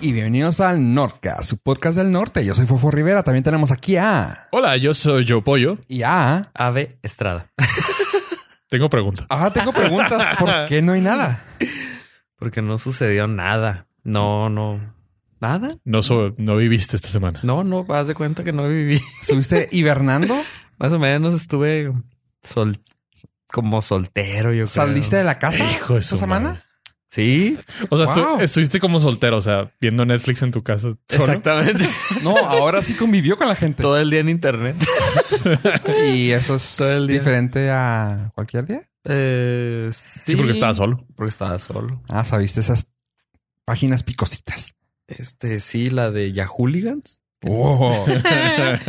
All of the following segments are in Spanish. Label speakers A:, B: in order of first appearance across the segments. A: bienvenidos al Nordcast, su podcast del norte. Yo soy Fofo Rivera, también tenemos aquí a...
B: Hola, yo soy Joe Pollo.
A: Y a...
C: Ave Estrada.
B: Tengo pregunta.
A: Ahora tengo preguntas, ¿por qué no hay nada?
C: Porque no sucedió nada. No, no. ¿Nada?
B: No, so- no viviste esta semana.
C: No, no, haz de cuenta que no viví.
A: ¿Estuviste hibernando?
C: Más o menos estuve sol como soltero, yo creo.
A: ¿Saliste de la casa
B: Hijo de su
A: esta semana?
B: madre.
C: Sí,
B: O sea, estu-
A: Wow.
B: estuviste como soltero, o sea, viendo Netflix en tu casa. solo.
C: exactamente.
A: No, ahora sí convivió con la gente.
C: Todo el día en internet.
A: Y eso es
C: Todo el día.
A: diferente a cualquier día.
C: Eh, sí,
B: Sí, porque estaba solo.
C: Porque estaba solo.
A: Ah, ¿sabiste esas páginas picositas?
C: Este, sí, la de Yahooligans.
A: Oh,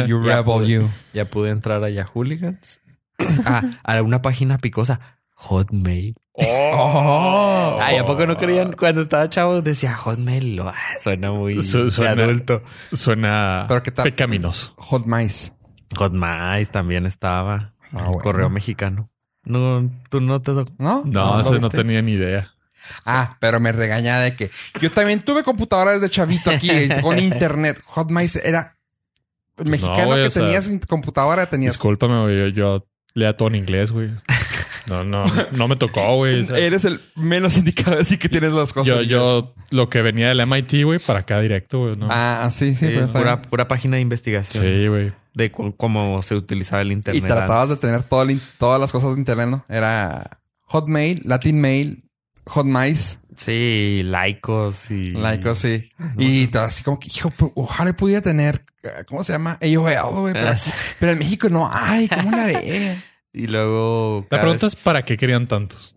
A: you
C: Ya
A: rebel
C: pude.
A: you.
C: Ya pude entrar a Yahooligans. ah, a una página picosa. Hotmail.
A: Oh.
C: Ay, ¿a poco no creían? Cuando estaba chavo decía Hotmail. lo- ah, suena muy
B: Su-
C: de
B: suena-
C: adulto.
B: Suena
A: Pero ¿qué tal?
B: pecaminoso.
A: Hot mice.
C: Hotmail también estaba.
A: Ah,
C: el
A: bueno.
C: correo mexicano. No, tú no te... doc-
A: ¿No?
B: No,
C: ¿No
B: eso
C: lo
B: no
C: viste?
B: tenía ni idea.
A: Ah, pero me regañaba de que yo también tuve computadora desde chavito aquí eh, con internet. Hot mice era mexicano
B: güey,
A: que
B: o sea,
A: tenías computadora, tenías.
B: Discúlpame, güey, yo, yo lea todo en inglés, güey. No, no, no me tocó, güey. o sea,
A: Eres el menos indicado de decir que tienes las cosas.
B: yo,
A: en inglés.
B: yo, lo que venía del MIT, güey, para acá directo, güey, ¿no?
A: Ah, sí, sí,
B: Sí,
A: pero está
C: eh, Pura,
A: bien.
C: pura página de investigación
B: sí, güey.
C: de cu- cómo se utilizaba el
A: Y
C: internet.
A: tratabas de tener todo el in- todas las cosas de internet, ¿no? Era Hotmail, Latin Mail, Hot Mice,
C: Sí, laicos y...
A: Laicos, sí. Y todo así como que, hijo, pu- ojalá pudiera tener, eh, ¿cómo se llama? AOL, güey. Pero,
C: Ah,
A: aquí- pero en México no hay, ¿cómo la haré?
C: Y luego...
B: La
C: cada
B: pregunta
C: vez-
B: es para qué querían tantos.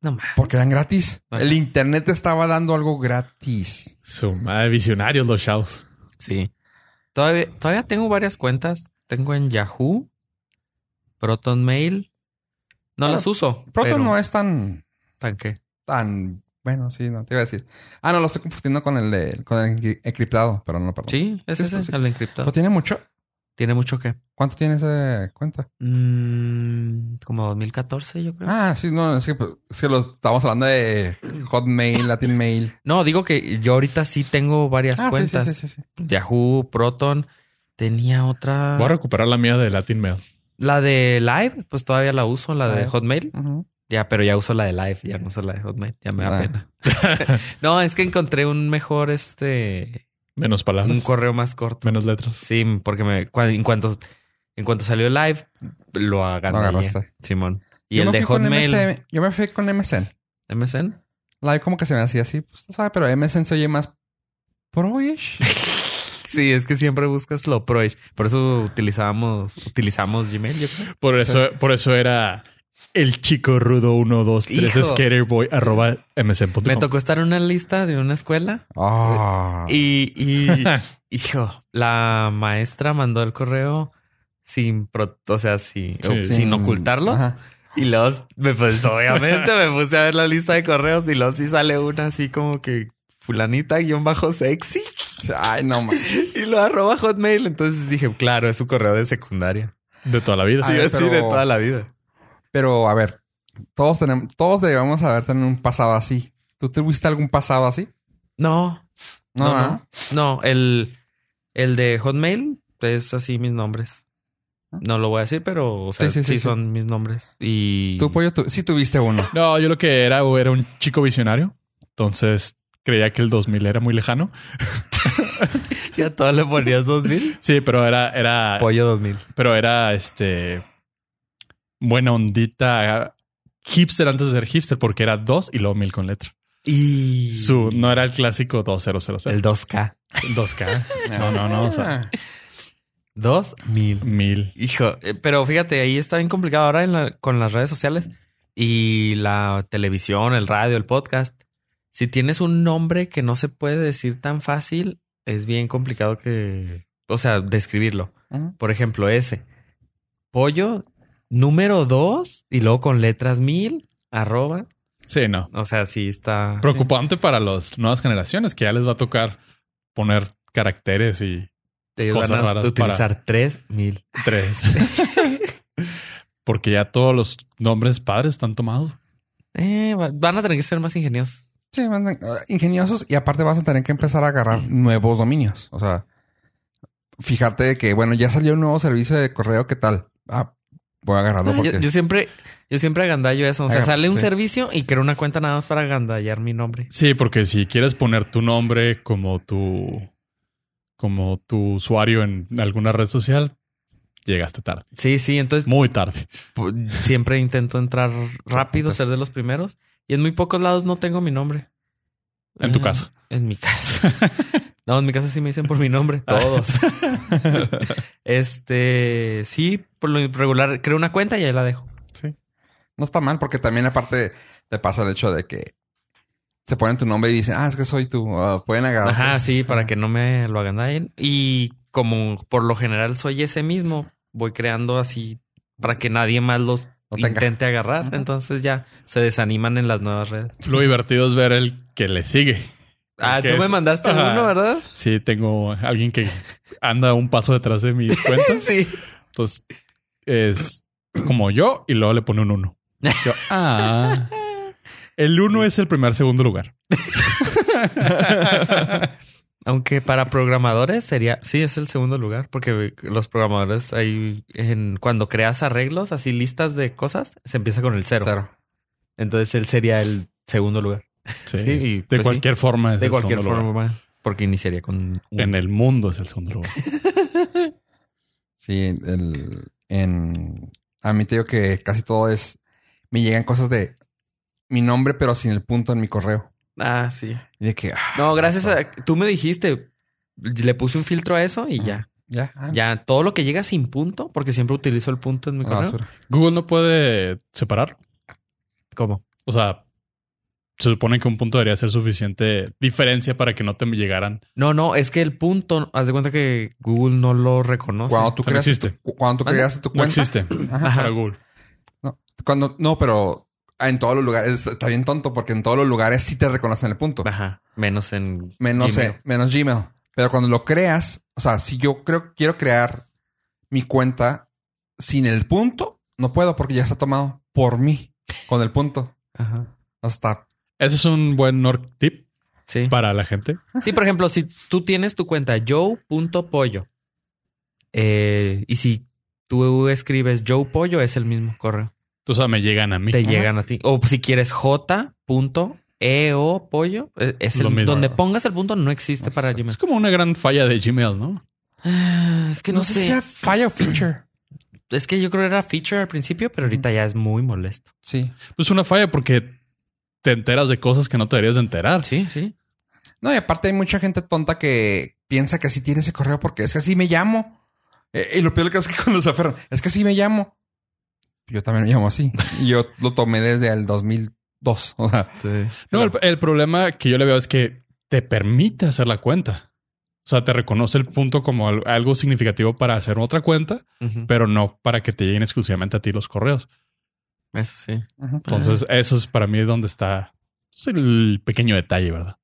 C: No más.
A: Porque eran gratis.
C: Ajá.
A: El internet te estaba dando algo gratis.
B: Su madre, visionarios los chavos.
C: Sí. Todavía, todavía tengo varias cuentas. Tengo en Yahoo, Proton Mail. No
A: Bueno,
C: las uso.
A: Ah, Proton
C: pero-
A: no es tan,
C: ¿Tan qué?
A: tan, bueno, sí, no te iba a decir. Ah, no, lo estoy confundiendo con el, de- con el enqui- encriptado, pero no, perdón.
C: Sí, es
A: Sí,
C: ese,
A: sí, sí.
C: el
A: ¿No
C: encriptado.
A: tiene mucho?
C: Tiene mucho que.
A: ¿Cuánto tiene esa cuenta?
C: Mm, como 2014, yo creo.
A: Ah, sí, no, es que, pues, es que lo estamos hablando de Hotmail, Latin Mail.
C: No, digo que yo ahorita sí tengo varias
A: Ah, sí, sí,
C: cuentas.
A: sí, sí, sí.
C: Yahoo, Proton. Tenía
A: Ah.
C: otra.
B: Voy a recuperar la mía de Latin Mail.
C: La de Live, pues todavía la uso, la de
A: Ah.
C: Hotmail.
A: Ujú.
C: Ya, pero ya uso la de Live, ya no uso la de Hotmail. Ya me da
A: Ah.
C: pena. no, es que encontré un mejor, este,
B: Menos
C: un
A: Ah,
B: palabras,
C: correo más corto.
B: menos letras.
C: Sí, porque me, cua- en cuanto en cuanto salió live, lo agarré.
A: Lo agarraste.
C: Simón. Y
A: Yo
C: el
A: me fui
C: de
A: con
C: Hotmail.
A: MSN. yo me fui con MSN.
C: ¿MSN?
A: Live como que se me hacía así, pues, ¿sabes? Pero MSN se oye más pro-ish.
C: Sí, es que siempre buscas lo pro. Por eso utilizábamos, utilizamos Gmail, yo creo.
B: Por eso, por eso era el chico rudo 123
C: Hijo.
B: skaterboy arroba msn.com.
C: Me tocó estar en una lista de una escuela
A: Ah.
C: y, y hijo, la maestra mandó el correo sin pro- o sea, sin,
B: Sí.
C: sin ocultarlo.
A: Ajá.
C: Y luego, me, pues obviamente me puse a ver la lista de correos y luego sí sale una así como que fulanita guión bajo sexy
A: Ay, no man.
C: y lo arroba hotmail. Entonces dije, claro, es su correo de secundaria.
B: De toda la vida.
A: A
C: Sí,
A: ver,
C: así
A: pero-
C: de toda la vida.
A: Pero a ver, todos tenemos, todos debemos haber tenido un pasado así. ¿Tú tuviste algún pasado así?
C: No,
A: No,
C: no,
A: ¿verdad?
C: no. No, el, el de hotmail es así mis nombres. No lo voy a decir, pero o sea,
A: Ah. Sí,
C: sí,
A: sí, sí, sí.
C: son mis nombres. Y
A: Tú, pollo, tú- sí tuviste uno.
B: No, yo lo que era güey, era un chico visionario. Entonces creía que el 2000 era muy lejano.
C: ya todo le ponías 2000.
B: Sí, pero era, era,
C: Pollo 2000.
B: pero era este buena ondita hipster antes de ser hipster porque era 2 y luego 1000 con letra.
C: Y
B: Su, no era el clásico 2000,
C: el 2K.
B: 2K. No, no, no, o sea,
C: 2000.
B: 1000.
C: Hijo, eh, pero fíjate, ahí está bien complicado ahora en la- con las redes sociales y la televisión, el radio, el podcast. Si tienes un nombre que no se puede decir tan fácil, es bien complicado que, o sea, describirlo.
A: Ujú.
C: Por ejemplo, ese. Pollo número 2 y luego con letras mil, arroba.
B: Sí, no.
C: O sea, sí está...
B: Preocupante para las nuevas generaciones que ya les va a tocar poner caracteres y
C: Ellos
B: cosas
C: van a
B: raras
C: utilizar tres mil.
B: Tres. Porque ya todos los nombres padres están tomados.
C: Eh, va- van a tener que ser más ingeniosos.
A: Sí, mandan, ah, ingeniosos y aparte vas a tener que empezar a agarrar nuevos dominios. O sea, fíjate de que, bueno, ya salió un nuevo servicio de correo, ¿qué tal? Ah, voy a agarrarlo porque...
C: Yo, yo siempre, yo siempre agandallo eso. O sea,
A: Aga-
C: sale un
A: sí.
C: servicio y creo una cuenta nada más para agandallar mi nombre.
B: Sí, porque si quieres poner tu nombre como tu como tu usuario en alguna red social, llegaste tarde.
C: Sí, sí. Entonces
B: Muy tarde.
C: pu- siempre intento entrar rápido, ser de los primeros. Y en muy pocos lados no tengo mi nombre.
B: En tu
C: Eh,
B: casa.
C: En mi casa. no, en mi casa sí me dicen por mi nombre. Todos. este, sí, por lo regular creo una cuenta y ahí la dejo.
A: No está mal porque también aparte te pasa el hecho de que se ponen tu nombre y dicen, ah, es que soy tú. Ah, pueden agarrar.
C: Ajá,
A: pues,
C: sí, para que no me lo agandallen. Y como por lo general soy ese mismo, voy creando así para que nadie más los
A: No tenga.
C: intente agarrar.
A: Ujú.
C: Entonces ya se desaniman en las nuevas redes.
B: Lo divertido es ver el que le sigue.
C: Ah,
B: Que
C: tú me
B: es-
C: mandaste
B: Ajá.
C: uno, ¿verdad?
B: Sí, tengo alguien que anda un paso detrás de mis cuentas.
C: Sí.
B: Entonces es como yo y luego le pone un uno. Yo, ah. El uno es el primer segundo lugar.
C: Aunque para programadores sería, sí, es el segundo lugar, porque los programadores ahí, en, cuando creas arreglos, así listas de cosas, se empieza con el cero.
A: Cero.
C: Entonces él sería el segundo lugar.
B: Sí.
C: Sí, y
B: de
C: pues sí.
B: cualquier forma es
C: De
B: el
C: cualquier
B: segundo lugar.
C: forma, porque iniciaría con un-
B: En el mundo es el segundo lugar.
A: Sí, el, en... A mí te digo que casi todo es... Me llegan cosas de mi nombre pero sin el punto en mi correo.
C: Ah, sí.
A: Y de que... ah,
C: No, gracias a. Tú me dijiste. Le puse un filtro a eso y ya.
A: Ya. ah,
C: Ya, todo lo que llega sin punto, porque siempre utilizo el punto en mi
A: a la
C: correo.
A: Ah, basura.
B: Google no puede separarlo.
C: ¿Cómo?
B: O sea, se supone que un punto debería ser suficiente diferencia para que no te llegaran.
C: No, no, es que el punto, haz de cuenta que Google no lo reconoce.
A: Cuando tú
B: O sea, no
A: creas...
B: existe. Ah,
A: tu- Cuando tú
C: ¿Mande?
A: creas tu
B: No
A: cuenta...
B: existe
A: Ajá.
B: para Google.
A: Cuando... No, pero... En todos los lugares... Está bien tonto porque en todos los lugares sí te reconocen el punto.
C: Ajá. Menos en.
A: Menos,
C: Gmail.
A: eh, menos Gmail. Pero cuando lo creas, o sea, si yo creo quiero crear mi cuenta sin el punto, no puedo porque ya está tomado por mí con el punto.
C: Ajá.
A: O sea, está
B: Ese es un buen nor- tip
C: Sí.
B: para la gente.
C: Sí, por ejemplo, si tú tienes tu cuenta joe.pollo eh, y si tú escribes Joe Pollo, es el mismo correo.
B: O sea, me llegan a mí.
C: te
A: Ajá.
C: llegan a ti. O pues, si quieres j.eo pollo, eh, es
B: Lo
C: el
B: mismo.
C: donde pongas el punto no existe
A: No
C: para
A: existe.
B: Es
C: Gmail.
B: como una gran falla de Gmail, ¿no?
C: Ah, Es que no,
A: si
C: sé.
A: sea falla o feature.
C: Es que yo creo que era feature al principio, pero ahorita ya es muy molesto.
A: Sí.
B: Pues una falla porque te enteras de cosas que no te deberías de enterar.
C: Sí, sí.
A: No, y aparte hay mucha gente tonta que piensa que así tiene ese correo porque es que así me llamo. Eh, y lo peor que es que cuando se aferran, es que así me llamo. Yo también me llamo así. Y yo lo tomé desde el 2002. O sea,
B: No, el, el problema que yo le veo es que te permite hacer la cuenta. O sea, te reconoce el punto como al- algo significativo para hacer otra cuenta,
C: Ujú.
B: pero no para que te lleguen exclusivamente a ti los correos.
C: Eso sí.
B: Entonces, eso es para mí donde está pues, el pequeño detalle, ¿verdad?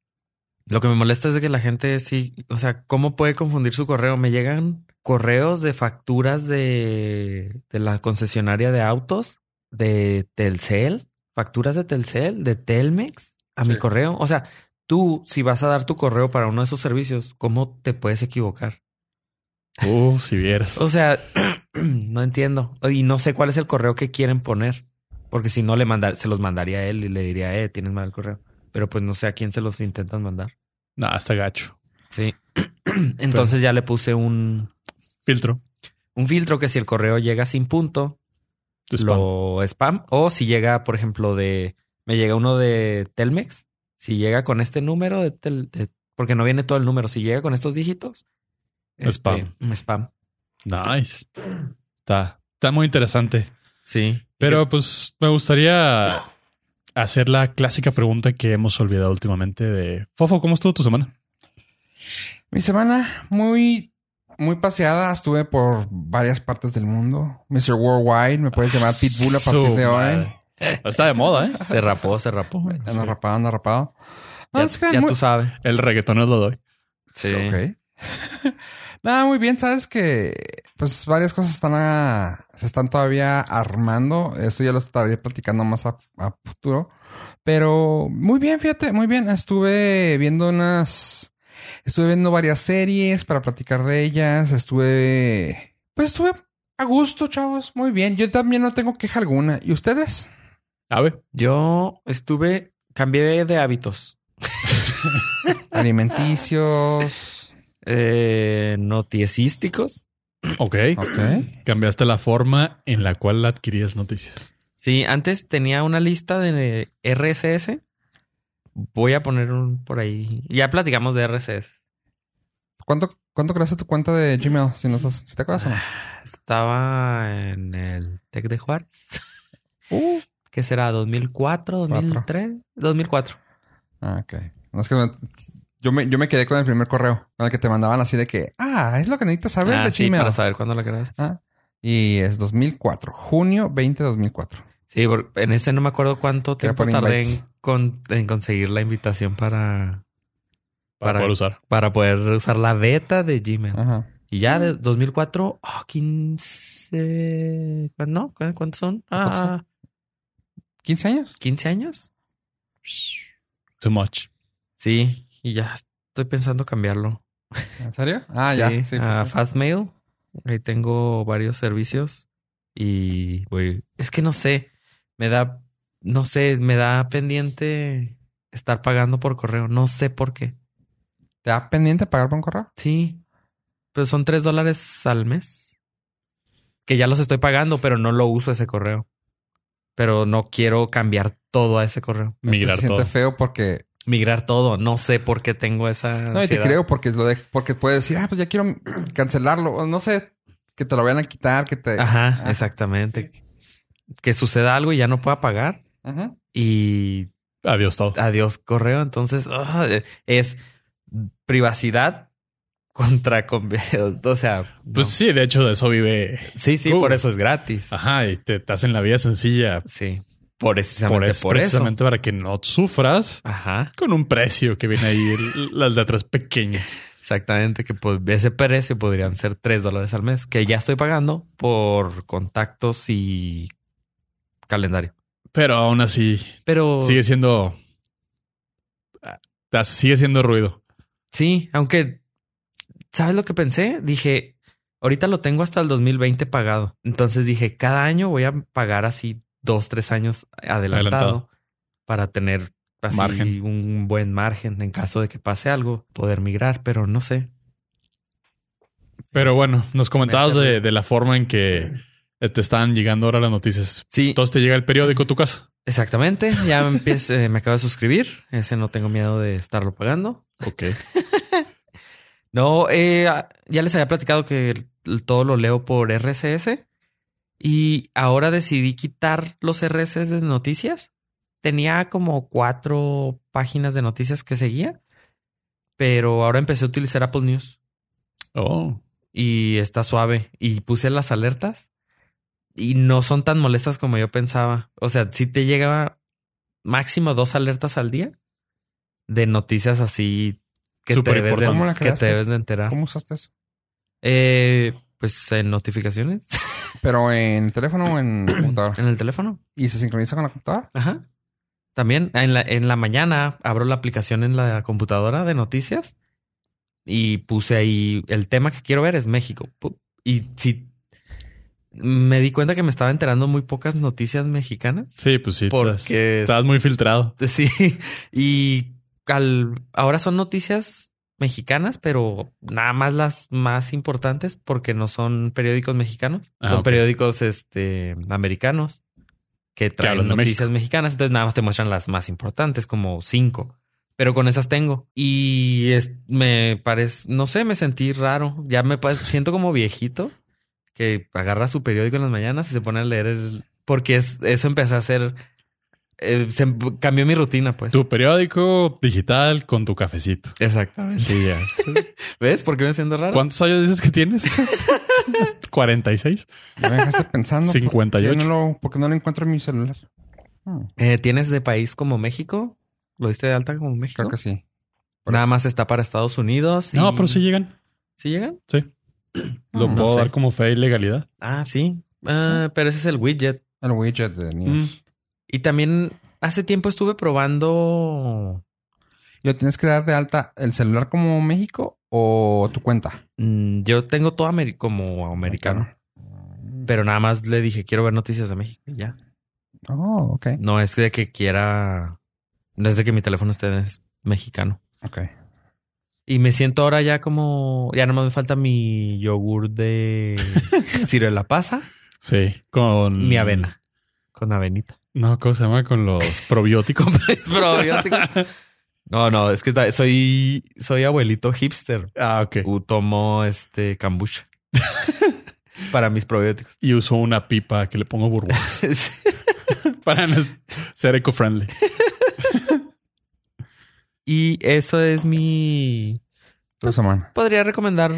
C: Lo que me molesta es de que la gente sí, o sea, ¿cómo puede confundir su correo? Me llegan correos de facturas de, de la concesionaria de autos, de Telcel, facturas de Telcel, de Telmex, a mi
A: Sí.
C: correo. O sea, tú, si vas a dar tu correo para uno de esos servicios, ¿cómo te puedes equivocar?
B: Uh, si vieras.
C: O sea, no entiendo. Y no sé cuál es el correo que quieren poner. Porque si no, le manda, se los mandaría a él y le diría, eh, tienes mal el correo. Pero pues no sé a quién se los intentan mandar.
B: Nada, está gacho.
C: Sí. Entonces ya le puse un,
B: Filtro.
C: un filtro que si el correo llega sin punto,
B: tu spam.
C: lo spam. O si llega, por ejemplo, de. Me llega uno de Telmex. Si llega con este número de, tel- de- porque no viene todo el número. Si llega con estos dígitos,
B: Spam.
C: este, Spam.
B: Nice. Está, está muy interesante.
C: Sí.
B: Pero pues me gustaría hacer la clásica pregunta que hemos olvidado últimamente de Fofo, ¿cómo estuvo tu semana?
A: Mi semana muy, muy paseada. Estuve por varias partes del mundo. Mr. Worldwide, me puedes llamar Pitbull a partir
B: Ah, Su
A: de hoy.
B: madre. Está de moda, ¿eh?
C: Se rapó, se rapó.
A: Anda rapado, anda rapado. No,
C: Ya,
A: no se crean,
C: ya
A: muy-
C: tú sabes.
B: El reggaetón es lo doy.
C: Sí.
A: Ok. Nada, muy bien, sabes que pues varias cosas están a- se están todavía armando. Eso ya lo estaré platicando más a, a futuro. Pero muy bien, fíjate, muy bien. Estuve viendo unas. Estuve viendo varias series para platicar de ellas. Estuve. Pues estuve a gusto, chavos. Muy bien. Yo también no tengo queja alguna. ¿Y ustedes?
B: A ver,
C: Yo estuve, cambié de hábitos.
A: Alimenticios.
C: Eh, notiesísticos.
B: ok.
A: Ok.
B: Cambiaste la forma en la cual adquirías noticias.
C: Sí, antes tenía una lista de RSS. Voy a poner un por ahí. Ya platicamos de RSS.
A: ¿Cuánto, cuánto creaste tu cuenta de Gmail? Si, no, estás- si te acuerdas o no?
C: Estaba en el Tec de Juárez.
A: Uh.
C: ¿Qué será? ¿2004? ¿2003? 2004.
A: Ah, ok. No, es que me- yo, me, yo me quedé con el primer correo, con el que te mandaban así de que, ah, es lo que necesitas saber
C: Ah,
A: de
C: sí,
A: Gmail.
C: para saber cuándo la creaste.
A: Ah, y es 2004, junio 20 de 2004.
C: Sí, porque en ese no me acuerdo cuánto
A: Era
C: tiempo
A: por
C: tardé
A: invites.
C: en, con- en conseguir la invitación para,
B: Para,
C: Para-
B: poder usar.
C: para poder usar la beta de Gmail.
A: Ajá.
C: Y ya de 2004, oh, 15... ¿cuán- ¿No? ¿Cuán- ¿Cuántos son? Ah,
A: 15 años.
C: 15 años.
B: Too much.
C: Sí, y ya estoy pensando cambiarlo.
A: ¿En serio? Ah, ya. Sí, pues
C: a
A: sí.
C: Fastmail. Ahí tengo varios servicios y voy. Es que no sé, me da, no sé, me da pendiente estar pagando por correo. No sé por qué.
A: ¿Te da pendiente pagar por un correo?
C: Sí, pero son tres dólares al mes que ya los estoy pagando, pero no lo uso ese correo. Pero no quiero cambiar todo a ese correo,
B: Migrar
A: Esto se
B: todo.
A: siente feo porque...
C: migrar todo. No sé por qué tengo esa.
A: No, y te
C: ansiedad.
A: creo porque, lo de- porque puedes decir, ah, pues ya quiero cancelarlo. O no sé, que te lo vayan a quitar, que te...
C: Ajá,
A: Ah,
C: exactamente. Que suceda algo y ya no pueda pagar.
A: Ajá.
C: y
B: Adiós todo.
C: adiós correo. Entonces ah, es privacidad contra... con- O sea, no.
B: Pues uh. sí, de hecho de eso vive.
C: sí, sí,
B: Google.
C: por eso es gratis.
B: Ajá, y te, te hacen la vida sencilla.
C: Sí, por precisamente
B: Por,
C: por,
B: es-
C: eso.
B: precisamente para que no sufras
C: Ajá,
B: con un precio que viene ahí el- las letras pequeñas.
C: exactamente. Que pues, ese precio podrían ser 3 dólares al mes, que ya estoy pagando por contactos y calendario.
B: Pero aún así
C: Pero
B: sigue siendo. ah, Sigue siendo ruido.
C: Sí, aunque, ¿sabes lo que pensé? Dije, ahorita lo tengo hasta el 2020 pagado. Entonces dije, cada año voy a pagar así dos, tres años adelantado,
B: Adelantado.
C: para tener así
B: Margen.
C: un buen margen en caso de que pase algo, poder migrar, pero no sé.
B: Pero bueno, nos comentabas
C: Me hace
B: de,
C: ruido.
B: de la forma en que te están llegando ahora las noticias.
C: Sí,
B: Entonces te llega el periódico a tu casa.
C: exactamente. Ya me empiezo- eh, me acabo de suscribir. Ese no tengo miedo de estarlo pagando.
B: Ok.
C: No, eh, a- ya les había platicado que el- el todo lo leo por RSS y ahora decidí quitar los RSS de noticias. Tenía como cuatro páginas de noticias que seguía, pero ahora empecé a utilizar Apple News
B: Oh,
C: y está suave y puse las alertas y no son tan molestas como yo pensaba. O sea, si te llegaba máximo dos alertas al día de noticias así que, te debes,
B: Superimportantes.
A: ¿Cómo la
C: de, que te
A: creaste?
C: debes de enterar.
A: ¿Cómo usaste eso?
C: Eh, pues en notificaciones.
A: Pero en teléfono o en computador.
C: en el teléfono.
A: ¿Y se sincroniza con la computadora?
C: Ajá. También en la, en la mañana abro la aplicación en la computadora de noticias y puse ahí el tema que quiero ver es México. Pu- Y si me di cuenta que me estaba enterando muy pocas noticias mexicanas.
B: sí, pues sí. Estás,
C: Porque
B: estás muy filtrado.
C: Sí, y al- ahora son noticias mexicanas, pero nada más las más importantes porque no son periódicos mexicanos,
B: Ah,
C: son
B: ok.
C: periódicos este americanos que traen
B: hablan de
C: noticias mexicanas, entonces nada más te muestran las más importantes, como cinco. Pero con esas tengo. Y es- me parece, no sé, me sentí raro. Ya me pa- siento como viejito que agarra su periódico en las mañanas y se pone a leer el. Porque es- eso empecé a hacer. eh, se em- cambió mi rutina, pues.
B: Tu periódico digital con tu cafecito.
C: Exactamente.
B: Sí, ya.
C: ¿Ves? ¿Por qué me siento raro?
B: ¿Cuántos años dices que tienes? 46.
A: Ya Me dejaste pensando. ¿por qué
B: 58.
A: no lo, porque no lo encuentro en mi celular. Hmm,
C: Eh, ¿Tienes de país como México? ¿Lo diste de alta como México?
A: creo que sí.
C: Nada más está para Estados Unidos. y-
B: No, pero sí llegan.
C: ¿Sí llegan?
B: Sí. Lo
A: No
B: puedo
C: sé.
B: dar como fe y legalidad.
C: Ah, sí. Ah, pero ese es el widget.
A: El widget de
B: Mm.
A: News.
C: Y también hace tiempo estuve probando.
A: ¿Lo tienes que dar de alta el celular como México o tu cuenta?
C: mm, Yo tengo todo ameri- como americano, pero nada más le dije quiero ver noticias de México y ya.
A: Oh, ok.
C: No es de que quiera, no es de que mi teléfono esté es mexicano.
A: Ok.
C: Y me siento ahora ya como, ya nada más me falta mi yogur de ciruela pasa,
B: Sí. Con.
C: mi avena con avenita.
B: No, ¿cómo se llama? Con los probióticos.
C: Probiótico. No, no, es que ta- soy, soy abuelito hipster.
B: ah, ok.
C: U- Tomo este kombucha para mis probióticos.
B: Y uso una pipa que le pongo burbujas para no ser eco-friendly.
C: Y eso es mi.
A: Tu semana.
C: Podría recomendar.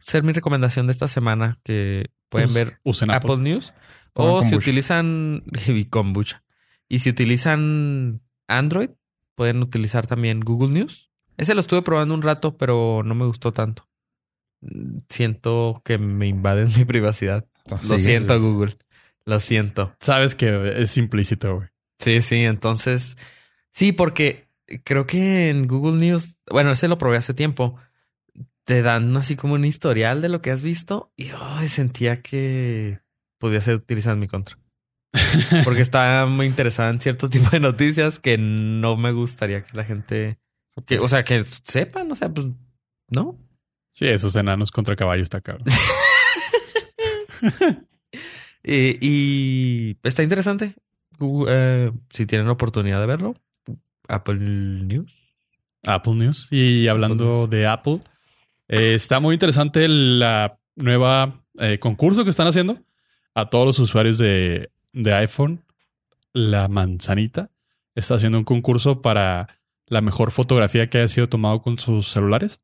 C: Ser mi recomendación de esta semana que pueden
B: Pues,
C: ver
B: Usen
C: Apple,
B: Apple.
C: News.
A: Pongan
C: O si
A: kombucha.
C: utilizan. Y kombucha. Y si utilizan Android, pueden utilizar también Google News. Ese lo estuve probando un rato, pero no me gustó tanto. Mm, Siento que me invaden mi privacidad. Lo
A: Sí,
C: siento,
A: sí, sí.
C: Google. Lo siento.
B: Sabes que es implícito, güey.
C: Sí, sí, entonces, sí, porque creo que en Google News, bueno, ese lo probé hace tiempo, te dan así como un historial de lo que has visto y ay, sentía que podía ser utilizado en mi contra. Porque estaba muy interesada en cierto tipo de noticias que no me gustaría que la gente, que, o sea, que sepan, o sea, pues, no.
B: Sí, esos enanos contra caballo está caro.
C: Eh, y está interesante. Google, eh, si tienen oportunidad de verlo, Apple News.
B: Apple News. Y hablando de Apple, eh, está muy interesante la nueva eh, concurso que están haciendo a todos los usuarios de, de iPhone. La manzanita está haciendo un concurso para la mejor fotografía que haya sido tomado con sus celulares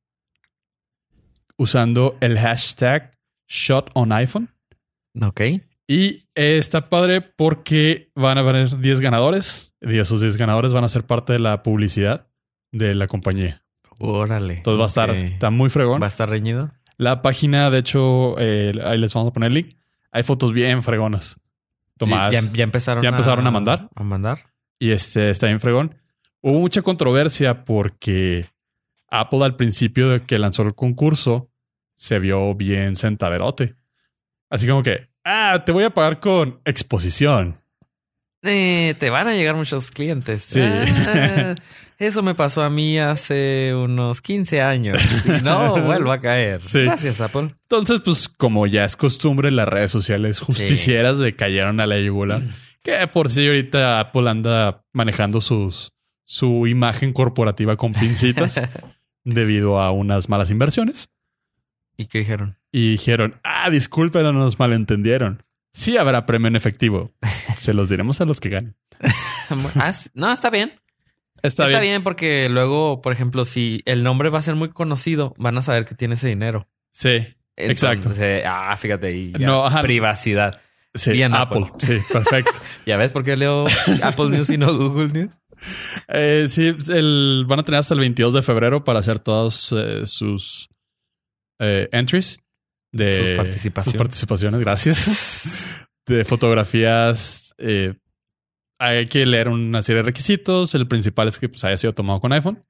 B: usando el hashtag shot on iPhone.
C: Ok.
B: Y eh, está padre porque van a haber 10 ganadores y esos 10 ganadores van a ser parte de la publicidad de la compañía.
C: Órale.
B: Entonces va a estar,
C: Ok.
B: está muy fregón.
C: ¿Va a estar reñido?
B: La página, de hecho, eh, ahí les vamos a poner el link. Hay fotos bien fregonas tomadas.
C: Ya, ya empezaron,
B: ¿Ya empezaron a mandar?
C: A mandar.
B: Y este está bien fregón. Hubo mucha controversia porque Apple al principio de que lanzó el concurso se vio bien sentaderote. Así como que, ah, te voy a pagar con exposición.
C: Eh, te van a llegar muchos clientes.
B: Sí.
C: Ah, eso me pasó a mí hace unos 15 años. Y No vuelvo a caer.
B: Sí.
C: Gracias, Apple.
B: Entonces, pues como ya es costumbre, las redes sociales justicieras le cayeron a la yugular. Que por si ahorita Apple anda manejando sus, su imagen corporativa con pincitas debido a unas malas inversiones.
C: ¿Y qué dijeron?
B: Y dijeron, ah, disculpen, no nos malentendieron. Sí habrá premio en efectivo. Se los diremos a los que ganen.
C: Ah, sí. no, está bien.
B: Está,
C: bien. porque luego, por ejemplo, si el nombre va a ser muy conocido, van a saber que tiene ese dinero.
B: Sí, Exacto.
C: Entonces, ah, fíjate ahí. ya.
B: No, ajá.
C: Privacidad.
B: sí.
C: Bien,
B: Apple.
C: Apple.
B: Sí, perfecto.
C: ¿Ya ves por qué leo Apple News y no Google News?
B: Eh, sí, el- van a tener hasta el 22 de febrero para hacer todas eh, sus eh, entries. De,
C: Sus participaciones.
B: sus participaciones, gracias. de fotografías. eh, hay que leer una serie de requisitos. El principal es que pues, haya sido tomado con iPhone.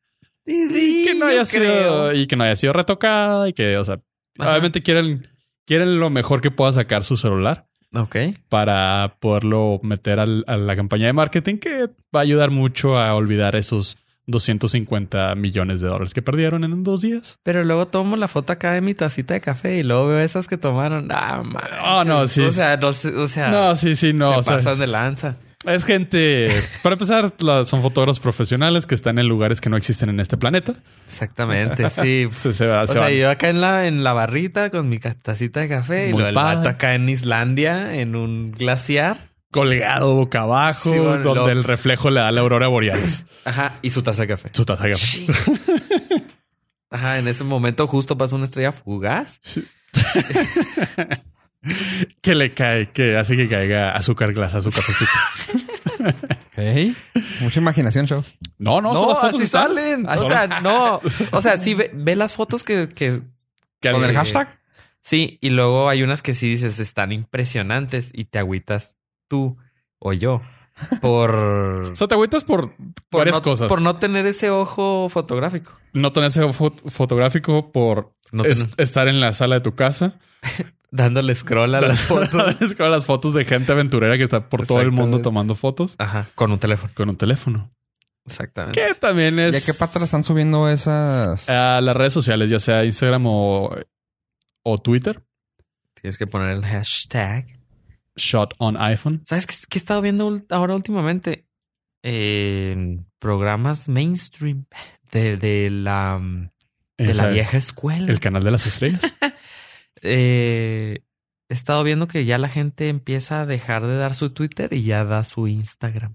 B: Y que no haya sido. Y que no haya sido retocada. Y que, o sea,
C: Ajá.
B: obviamente quieren, quieren lo mejor que pueda sacar su celular
C: Ok.
B: para poderlo meter al- a la campaña de marketing que va a ayudar mucho a olvidar esos 250 millones de dólares que perdieron en dos días.
C: Pero luego tomo la foto acá de mi tacita de café y luego veo esas que tomaron. Ah, manches.
B: Ah, no, sí.
C: O sea, no sé, o sea,
B: No, sí, sí, no.
C: Ah, se
B: o sea,
C: pasan de lanza.
B: es gente, para empezar, la- son fotógrafos profesionales que están en lugares que no existen en este planeta.
C: Exactamente, sí.
B: Se, se va-
C: O
B: se
C: sea,
B: van.
C: yo acá en la, en la barrita con mi ca- tacita de café y
B: Muy
C: luego el
B: padre.
C: vato acá en Islandia, en un glaciar.
B: colgado boca abajo,
C: Sí, bueno,
B: donde
C: lo-
B: el reflejo le da la aurora borealis.
C: Ajá, y su taza de café.
B: Su taza de café.
C: Sí. Ajá, en ese momento justo pasa una estrella fugaz.
B: Sí. que le cae, que hace que caiga azúcar glasa a su cafecito.
A: Ok. Mucha imaginación, chavos.
B: No, no, son las fotos
C: así
B: que están.
C: salen.
A: Ah,
C: O sea, no. O sea, sí ve, ve las fotos que, que
B: Que
A: ¿Con
B: al-
A: el
C: Sí.
A: hashtag?
C: Sí, y luego hay unas que sí dices están impresionantes y te agüitas tú o yo por,
B: O sea, te agüitas por,
C: por
B: varias
C: no,
B: cosas.
C: por no tener ese ojo fotográfico.
B: no tener ese fot- fotográfico, por
C: No
B: es-
C: tener-
B: estar en la sala de tu casa,
C: dándole scroll a las fotos.
B: Es como las fotos de gente aventurera que está por todo el mundo
C: Exactamente.
B: tomando fotos
C: Ajá, con un teléfono.
B: con un teléfono.
C: Exactamente.
B: Que también
A: ¿Y
B: es
A: a qué pata le están subiendo esas?
B: a las redes sociales, ya sea Instagram o, o Twitter.
C: Tienes que poner el hashtag.
B: Shot on iPhone.
C: ¿Sabes qué, qué he estado viendo ul- ahora últimamente? En programas mainstream de, de la, mm, de
B: Esa-
C: la vieja escuela.
B: El canal de las estrellas.
C: Eh, he estado viendo que ya la gente empieza a dejar de dar su Twitter y ya da su Instagram.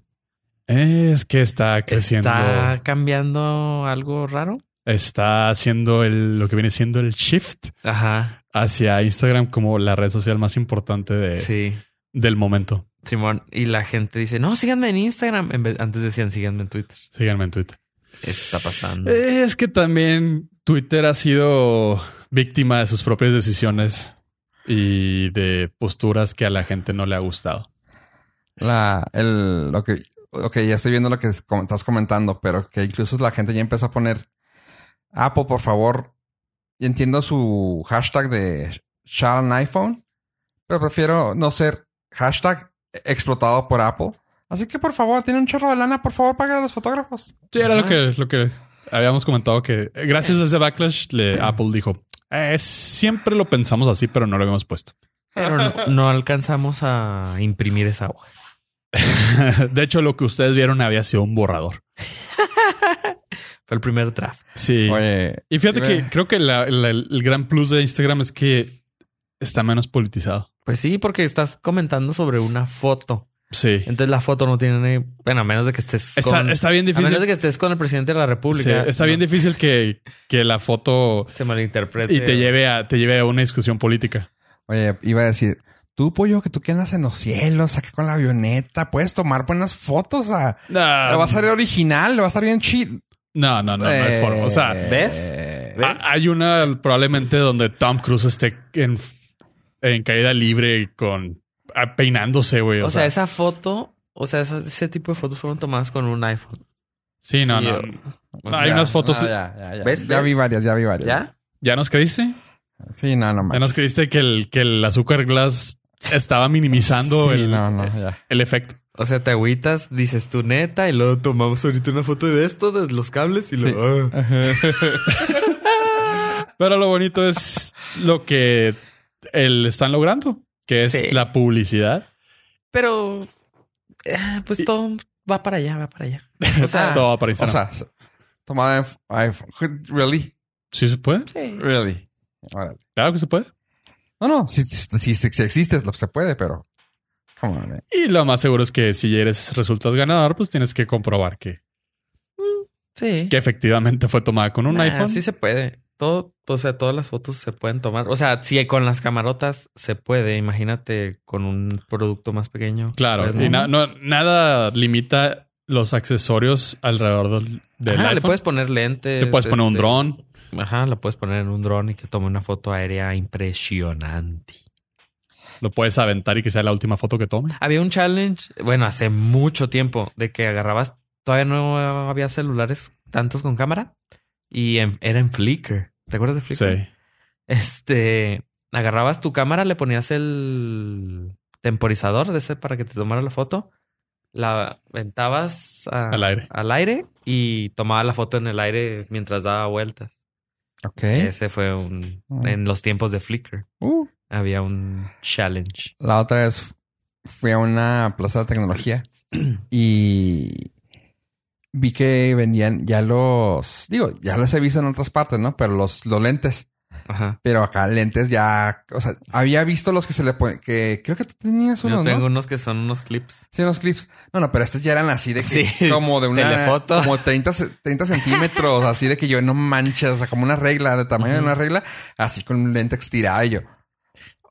B: es que está creciendo.
C: ¿Está
B: Está,
C: cambiando algo raro?
B: haciendo el, lo que viene siendo el shift
C: Ajá.
B: hacia Instagram como la red social más importante de-
C: Sí.
B: del momento.
C: Simón. Y la gente dice, no, síganme en Instagram. En vez- antes decían, síganme en Twitter.
B: Síganme en Twitter. Eh,
C: Está pasando.
B: Es que también Twitter ha sido víctima de sus propias decisiones y de posturas que a la gente no le ha gustado.
A: La, el, lo que, ok, ya estoy viendo lo que es- como estás comentando, pero que incluso la gente ya empezó a poner Apple, por favor. Y entiendo su hashtag de Shall an iPhone, pero prefiero no ser hashtag explotado por Apple. Así que por favor, tiene un chorro de lana, por favor, paga a los fotógrafos.
B: Sí, era lo
C: Ajá.
B: que, lo que habíamos comentado que eh, gracias a ese backlash le, Apple dijo, "Eh, siempre lo pensamos así, pero no lo habíamos puesto.
C: Pero no, no alcanzamos a imprimir esa hoja.
B: De hecho, lo que ustedes vieron había sido un borrador.
C: Fue el primer draft.
B: Sí.
A: Oye,
B: y fíjate que
C: eh.
A: Bueno.
B: creo que la- la- el gran plus de Instagram es que está menos politizado.
C: Pues sí, porque estás comentando sobre una foto.
B: Sí.
C: Entonces la foto no tiene... ni- Bueno, a menos de que estés
B: Está,
C: con...
B: está bien
C: A menos
B: difícil.
C: de que estés con el presidente de la
B: sí,
C: República.
B: está bien
C: no,
B: difícil que, que la foto
C: Se malinterprete.
B: y te lleve a te lleve a una discusión política.
A: oye, iba a decir, tú, pollo, que tú que andas en los cielos, acá con la avioneta, puedes tomar buenas fotos a. Le va a salir original, le va a estar bien chill.
B: No, Ah, no, no, no hay forma. O sea,
A: Eh,
C: ¿ves? ¿Ves?
B: a- hay una probablemente donde Tom Cruise esté en, en caída libre con a- peinándose, güey.
C: O sea, esa foto... O sea, esa- ese tipo de fotos fueron tomadas con un iPhone.
B: sí, no,
C: sí,
B: no.
C: O
B: hay
C: sea,
B: unas fotos.
A: No, ya, ya, ya.
C: ¿Ves?
A: Ya
C: ¿Ves?
A: vi varias, ya vi varias.
C: ¿Ya?
B: ¿Ya nos creíste?
A: Sí, no, no
B: Ya
A: más.
B: nos creíste que el, que el azúcar glass estaba minimizando
A: Sí,
B: el,
A: no, no, ya.
B: el efecto.
C: O sea, te agüitas, dices tu neta y luego tomamos ahorita una foto de esto, de los cables y luego... ah.
B: Pero lo bonito es lo que el están logrando, que es
C: Sí.
B: la publicidad.
C: Pero... ah, pues todo va para allá, va para allá.
A: O sea,
B: Todo para
A: o
B: Instagram.
A: sea, s- tomada en f- iPhone. Really?
B: ¿Sí se puede?
C: Sí.
A: Really. Órale.
B: Claro que se puede.
A: No, no, si, si, si- si existe, lo- se puede, pero. Come on, eh.
B: Y lo más seguro es que si eres resultas ganador, pues tienes que comprobar que,
C: Sí.
B: que efectivamente fue tomada con un
C: Nah,
B: iPhone.
C: Sí se puede. Todo, o sea, todas las fotos se pueden tomar. O sea, si con las camarotas se puede, imagínate con un producto más pequeño.
B: Claro,
C: Pues,
B: y na-
C: ¿no?
B: no- nada limita los accesorios alrededor del, del
C: Ajá,
B: iPhone.
C: le puedes poner lentes.
B: Le puedes poner un
C: este,
B: dron.
C: Ajá, le puedes poner un dron y que tome una foto aérea impresionante.
B: Lo puedes aventar y que sea la última foto que tome.
C: Había un challenge, bueno, hace mucho tiempo, de que agarrabas, todavía no había celulares tantos con cámara y en- era en Flickr. ¿Te acuerdas de Flickr?
B: Sí.
C: Este, agarrabas tu cámara, le ponías el temporizador de ese para que te tomara la foto, la aventabas a-
B: Al aire.
C: al aire y tomaba la foto en el aire mientras daba vueltas.
A: Ok.
B: ¿Eh?
C: Ese fue un
B: Ah.
A: Mm.
C: en los tiempos de Flickr.
A: Uh,
C: Había un challenge.
A: la otra vez fui a una plaza de tecnología y vi que vendían ya los. Digo, ya los he visto en otras partes, ¿no? Pero los, los lentes.
C: Ajá.
A: Pero acá lentes ya, o sea, había visto los que se le ponen, que creo que tú tenías unos,
C: Yo tengo
A: ¿no?
C: unos que son unos clips.
A: Sí, unos clips. No, no, pero estos ya eran así de que,
C: Sí,
A: como de una,
C: telefoto.
A: como 30, ce- 30 centímetros, así de que yo no manches, o sea, como una regla, de tamaño de
C: Ujú.
A: una regla, así con un lente estirado y yo.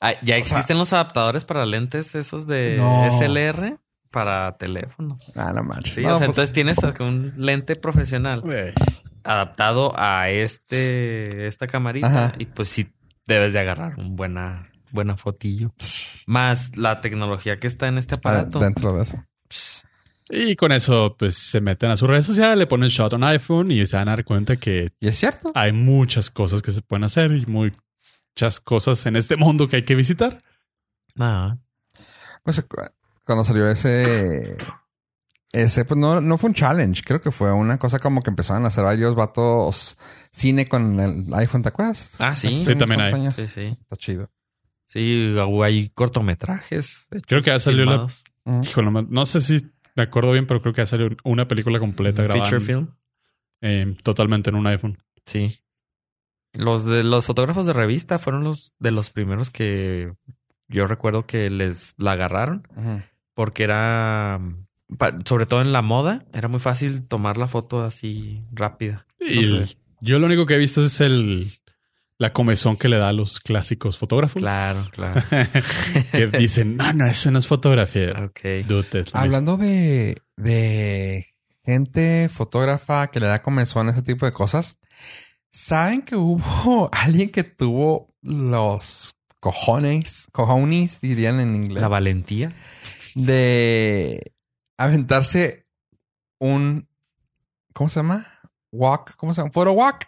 C: Ah, ya
A: O sea-
C: existen los adaptadores para lentes esos de
B: No.
C: SLR para teléfono.
A: Ah, no manches.
C: Sí,
A: No,
C: o sea,
A: pues,
C: entonces tienes un lente profesional. adaptado a este esta camarita
A: Ajá.
C: y pues sí debes de agarrar un buena, buena fotillo. Más la tecnología que está en
A: Ah,
C: este aparato.
A: Dentro de eso.
C: Pss,
B: Y con eso, pues se meten a sus redes sociales, le ponen shot on iPhone y se van a dar cuenta que
A: Y es cierto.
B: hay muchas cosas que se pueden hacer y muchas cosas en este mundo que hay que visitar.
C: ah.
A: Pues cu- cuando salió ese. Ese, pues no, no fue un challenge. Creo que fue una cosa como que empezaban a hacer varios vatos cine con el iPhone, ¿te acuerdas?
C: Ah, sí.
B: Sí, también
A: unos
B: hay.
A: años.
C: Sí, sí.
A: Está chido.
C: Sí, hay cortometrajes. hechos,
B: Creo que ya salió la-
C: filmados.
A: Ujú.
B: Híjole, no me- no sé si me acuerdo bien, pero creo que ya salió una película completa grabada
C: Feature
B: en-
C: film.
B: eh, totalmente en un iPhone.
C: Sí. Los de los fotógrafos de revista fueron los de los primeros que yo recuerdo que les la agarraron
A: Ujú.
C: porque era mm, pa- sobre todo en la moda, era muy fácil tomar la foto así rápida.
B: Y
C: No
B: el-
C: sé.
B: yo lo único que he visto es el la comezón que le da a los clásicos
A: pues,
B: fotógrafos.
C: Claro, claro.
B: que dicen, no, no, eso no es fotografía.
C: ok.
B: Dude, es lo mismo".
A: Hablando de, de gente fotógrafa que le da comezón a ese tipo de cosas, ¿saben que hubo alguien que tuvo los cojones, cojones dirían en inglés,
C: La valentía.
A: de aventarse un, ¿cómo se llama? Walk, ¿cómo se llama? Photo walk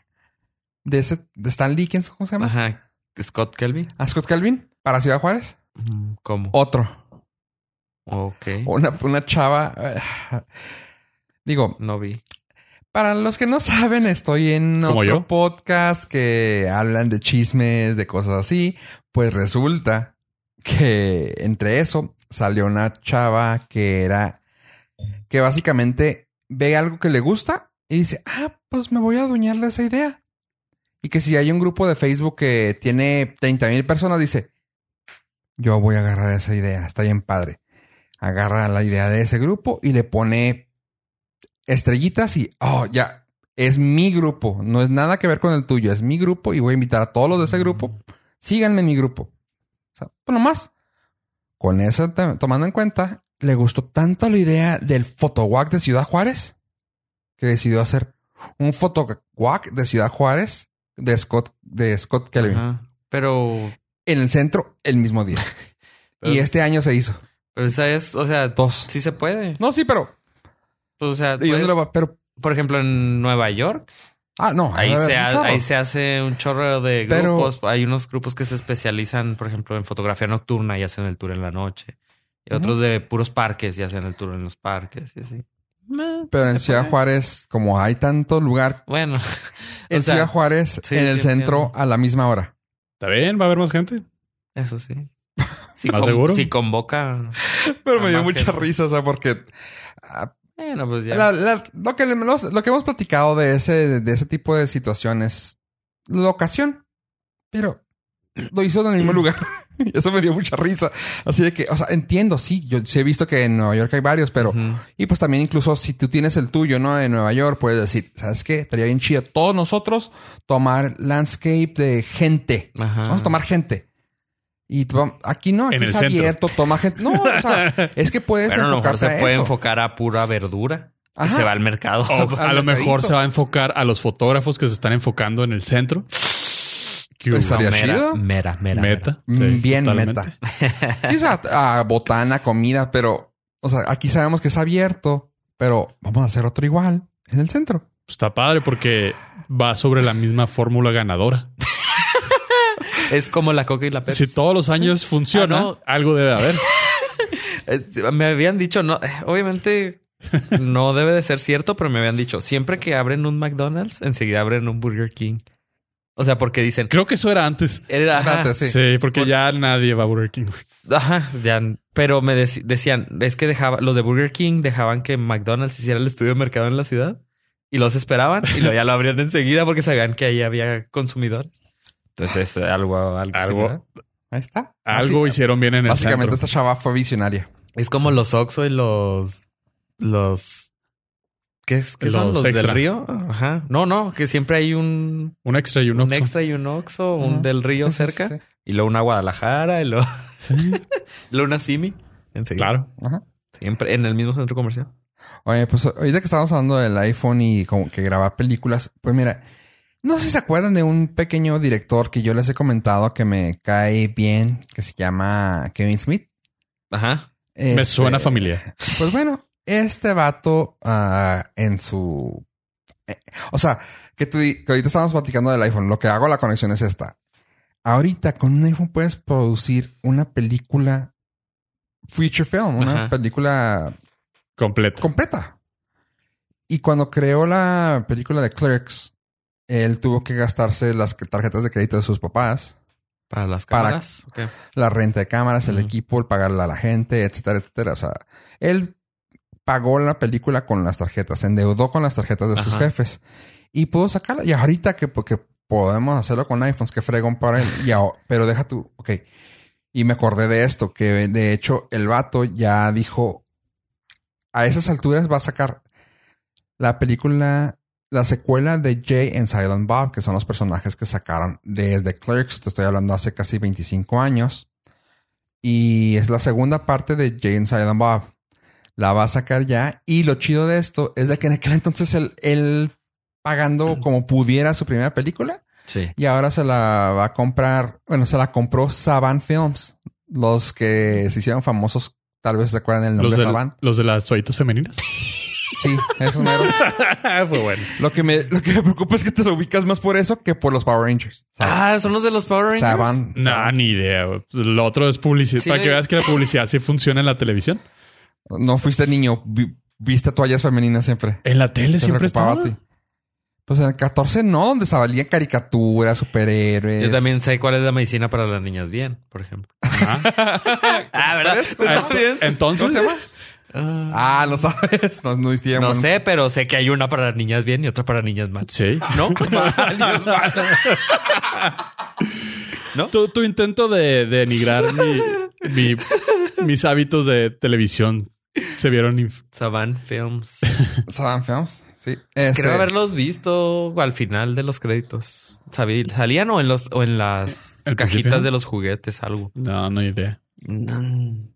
A: de, ese, de Stan Lee, ¿quién es? ¿Cómo se llama?
C: Ajá. Scott Kelby.
A: A Scott Calvin para Ciudad Juárez.
C: Mm, ¿Cómo?
A: Otro.
C: Ok.
A: Una, una chava. eh, Digo,
C: No vi.
A: Para los que no saben, estoy en
B: ¿Como
A: otro
B: yo?
A: podcast que hablan de chismes, de cosas así. Pues resulta que entre eso salió una chava que era que básicamente ve algo que le gusta y dice, ah, pues me voy a adueñar de esa idea. Y que si hay un grupo de Facebook que tiene 30 mil personas, dice, yo voy a agarrar esa idea, está bien padre. Agarra la idea de ese grupo y le pone estrellitas y, oh, ya, es mi grupo, no es nada que ver con el tuyo, es mi grupo y voy a invitar a todos los de ese
C: Mm,
A: grupo, síganme en mi grupo. O sea, pues nomás, con eso t- tomando en cuenta, le gustó tanto la idea del fotowalk de Ciudad Juárez que decidió hacer un fotowalk de Ciudad Juárez de Scott, de Scott Kelvin
C: Ajá. Pero,
A: en el centro el mismo día.
C: pero,
A: y este año se hizo.
C: pero esa es, o sea,
A: Dos.
C: sí se puede.
A: No, sí, pero.
C: Pues, o sea,
A: ¿y dónde
C: puedes-
A: lo va? Pero.
C: por ejemplo, en Nueva York,
A: Ah, no.
C: ahí,
A: debe
C: se,
A: haber
C: ha-
A: un chorro.
C: ahí se hace un chorro de
A: Pero-
C: grupos. Hay unos grupos que se especializan, por ejemplo, en fotografía nocturna y hacen el tour en la noche. Y
A: Ujú.
C: otros de puros parques y hacen el tour en los parques y así. Meh,
A: Pero en
C: se
A: Ciudad
C: puede.
A: Juárez, como hay tanto lugar,
C: Bueno,
A: en
C: O sea,
A: Ciudad Juárez,
C: sí,
A: en el
C: sí,
A: centro,
C: entiendo.
A: a la misma hora.
B: Está bien, va a haber más gente.
C: eso sí. Si,
B: ¿Más
C: con-
B: seguro?
C: si convoca.
A: Pero me dio
C: Más
A: mucha
C: gente.
A: risa, o sea, porque ah,
C: Bueno, pues ya.
A: la- la- lo, que, le- los- lo que hemos platicado de ese, de ese tipo de situaciones, locación, pero lo hizo en el mismo lugar. Y Eso me dio mucha risa. Así de que, o sea, entiendo, sí, yo sí he visto que en Nueva York hay varios, pero
C: Ujú.
A: Y pues también incluso si tú tienes el tuyo, ¿no? De Nueva York, puedes decir, ¿sabes qué? Estaría bien chido todos nosotros tomar landscape de gente.
C: Ajá.
A: Vamos a tomar gente. Y tú- aquí no, aquí
B: En el
A: está
B: centro.
A: abierto, toma gente. No, o sea, es que puedes
C: Bueno, a lo mejor
A: enfocarte a
C: se puede
A: eso.
C: enfocar a pura verdura. Y
A: Ajá.
C: se va al mercado.
B: O a
A: al
B: lo mejor
A: mercadito.
B: se va a enfocar a los fotógrafos que se están enfocando en el centro. ¿Qué hubo?
A: Estaría chido.
C: Mera, mera. mera.
B: meta.
A: Mm,
B: Sí,
A: bien
B: totalmente.
A: meta. Sí, o sea, a botana, comida, pero, o sea, aquí sabemos que es abierto, pero vamos a hacer otro igual en el centro.
B: Pues Está padre porque va sobre la misma fórmula ganadora.
C: Es como la coca y la Pepsi.
B: si todos los años funciona,
C: Ah, no.
B: algo debe haber.
C: Eh, Me habían dicho, no, eh, obviamente no debe de ser cierto, pero me habían dicho, siempre que abren un McDonald's, enseguida abren un Burger King. O sea, porque dicen,
B: Creo que eso era antes.
C: era, ajá,
A: Espérate,
B: Sí,
A: sí.
B: porque ya nadie va a Burger King. güey.
C: ajá, ya, pero me deci- decían, es que dejaba, los de Burger King dejaban que McDonald's hiciera el estudio de mercado en la ciudad y los esperaban y luego ya lo abrían enseguida porque sabían que ahí había consumidores. Entonces, es algo,
B: Algo.
C: algo, similar.
A: Ahí está.
B: Algo
A: Así-
B: hicieron bien en el
A: Ah, Básicamente
B: centro.
A: esta chava fue visionaria.
C: Es como los Oxxo y los. Los. ¿Qué, es- qué son
B: Los
C: los del
B: extra.
C: río? Ajá. No, no, que siempre hay un,
B: Un extra y un,
C: un,
B: Oxxo.
C: extra y un Oxxo, un
A: Ajá.
C: del río
A: Sí, sí,
C: cerca.
A: sí, sí.
C: Y luego una Guadalajara y luego,
B: Sí,
C: luego una Simi. Enseguida.
B: claro.
A: Ajá.
C: Siempre en el mismo centro comercial.
A: Oye, pues ahorita que estábamos hablando del iPhone y como que grabar películas, pues mira, No sé si se acuerdan de un pequeño director que yo les he comentado que me cae bien, que se llama Kevin Smith.
C: Ajá.
B: Me
A: Este,
B: suena familiar.
A: Pues bueno, este vato ah, en su... eh, o sea, que, tú, di- que ahorita estábamos platicando del iPhone. Lo que hago la conexión es esta. Ahorita con un iPhone puedes producir una película feature film, una
C: Ajá.
A: película
B: Completo.
A: completa. Y cuando creó la película de Clerks, él tuvo que gastarse las que- tarjetas de crédito de sus papás,
C: Para las
A: Para-
C: cámaras. ok.
A: la renta de cámaras, el
C: Ujú.
A: equipo, el pagarle a la gente, etcétera, etcétera. O sea, él pagó la película con las tarjetas, se endeudó con las tarjetas de sus
C: Ajá.
A: jefes y pudo sacarla. Y ahorita que porque podemos hacerlo con iPhones, que fregón para él. Y aho- pero deja tú, ok. Y me acordé de esto, que de hecho el vato ya dijo, a esas alturas va a sacar la película, la secuela de Jay and Silent Bob, que son los personajes que sacaron desde Clerks, te estoy hablando hace casi 25 años. Y es la segunda parte de Jay and Silent Bob. La va a sacar ya. Y lo chido de esto es de que en aquel entonces él, él pagando como pudiera su primera película.
C: Sí.
A: Y ahora se la va a comprar, bueno, se la compró Saban Films. Los que se hicieron famosos, tal vez se acuerdan el nombre
B: Los
A: de
B: de,
A: Saban.
B: los de las toallitas femeninas.
A: Sí, esos meros.
B: Fue bueno.
A: Lo que, me, lo que me preocupa es que te lo ubicas más por eso que por los Power Rangers.
C: Ah, son los de los Power Rangers.
A: Saban.
B: No, ni idea. güey. Lo otro es publicidad.
C: Sí,
B: Para que
C: de-
B: veas que la publicidad sí funciona en la televisión.
A: No fuiste niño, vi- viste toallas femeninas siempre.
B: En la tele siempre estaba.
A: a ti. Pues en el 14 no, donde salían caricaturas, superhéroes.
C: Yo también sé cuál es la medicina para las niñas bien, por ejemplo.
B: Ajá.
C: Ah, ¿verdad?
B: Ah, ento- Entonces,
C: Ah,
A: Ah, no sabes. No, no, hicieron-
C: no sé, pero sé que hay una para las niñas bien y otra para niñas mal.
B: sí.
C: ¿No?
B: Tu, tu intento de de denigrar mi- mi- mis hábitos de televisión se vieron inf-
C: Saban Films.
A: Saban Films. Sí. Este,
C: Creo haberlos visto al final de los créditos. Sabí- ¿Salían o en, los, o en las
B: ¿El
C: cajitas
B: principio?
C: de los juguetes algo?
B: No, no hay idea.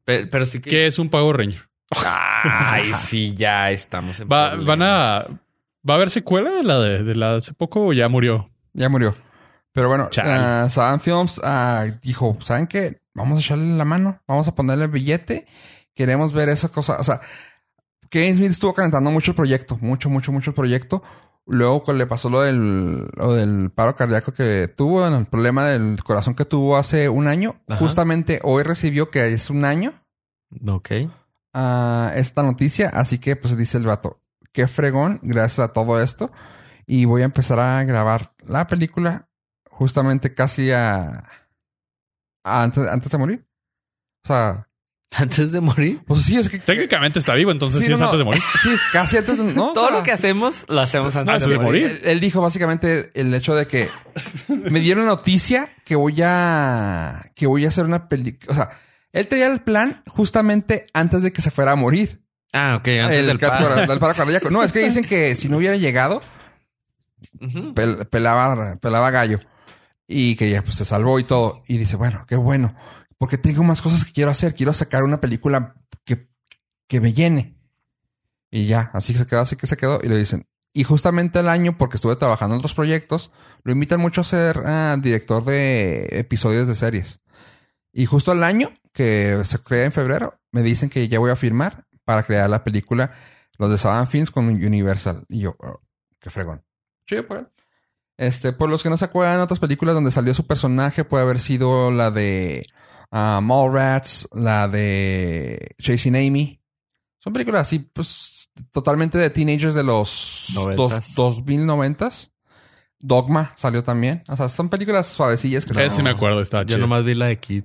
C: Pero, pero sí que...
B: ¿Qué es un Power Ranger?
C: Ay, sí, ya estamos en
B: Va,
C: problemas.
B: van a. ¿Va a haber secuela de la de, de la de hace poco o ya murió?
A: Ya murió. Pero bueno,
B: Chale.
A: ah, Saban Films ah, dijo, ¿saben qué? Vamos a echarle la mano, vamos a ponerle billete, queremos ver esa cosa. O sea, Kevin Smith estuvo calentando mucho el proyecto, mucho, mucho, mucho el proyecto. Luego cu- le pasó lo del, lo del paro cardíaco que tuvo, bueno, el problema del corazón que tuvo hace un año.
C: Ajá.
A: Justamente hoy recibió que es un año
C: Ok.
A: a esta noticia. Así que, pues dice el vato, qué fregón, gracias a todo esto. Y voy a empezar a grabar la película justamente casi a. a antes, antes de morir. O sea,
C: Antes de morir.
A: pues sí, es que.
B: Técnicamente está vivo, entonces sí,
A: Sí, no,
B: es
A: no.
B: antes de morir.
A: Sí, casi antes de. No, o
C: Todo
A: sea,
C: lo que hacemos lo hacemos antes,
B: Antes de morir.
A: Él, él dijo básicamente el hecho de que me dieron la noticia que voy a. que voy a hacer una película. O sea, él tenía el plan justamente antes de que se fuera a morir.
C: Ah, ok. Antes
A: el
C: del
A: cat-
C: paro.
A: del paro cardíaco. No, es que dicen que si no hubiera llegado,
C: Ujú.
A: pel- pelaba, pelaba gallo. Y que ya pues, se salvó y todo. Y dice, bueno, qué bueno. Porque tengo más cosas que quiero hacer. Quiero sacar una película que, que me llene. Y ya, así se quedó, así que se quedó. Y le dicen, y justamente el año, porque estuve trabajando en otros proyectos, lo invitan mucho a ser ah, director de episodios de series. Y justo al año, que se crea en febrero, me dicen que ya voy a firmar para crear la película Los de Saban Films con Universal. Y yo, oh, qué fregón. Chido por él. Este, por los que no se acuerdan, otras películas donde salió su personaje puede haber sido la de ah, Mallrats, la de Chasing Amy. Son películas así, pues, totalmente de teenagers de los
C: Noventas.
A: dos- 2090s. Dogma salió también. O sea, son películas suavecillas que
B: Ese
A: son-
B: me acuerdo, está
C: Yo
B: chido.
C: nomás vi la de Kid.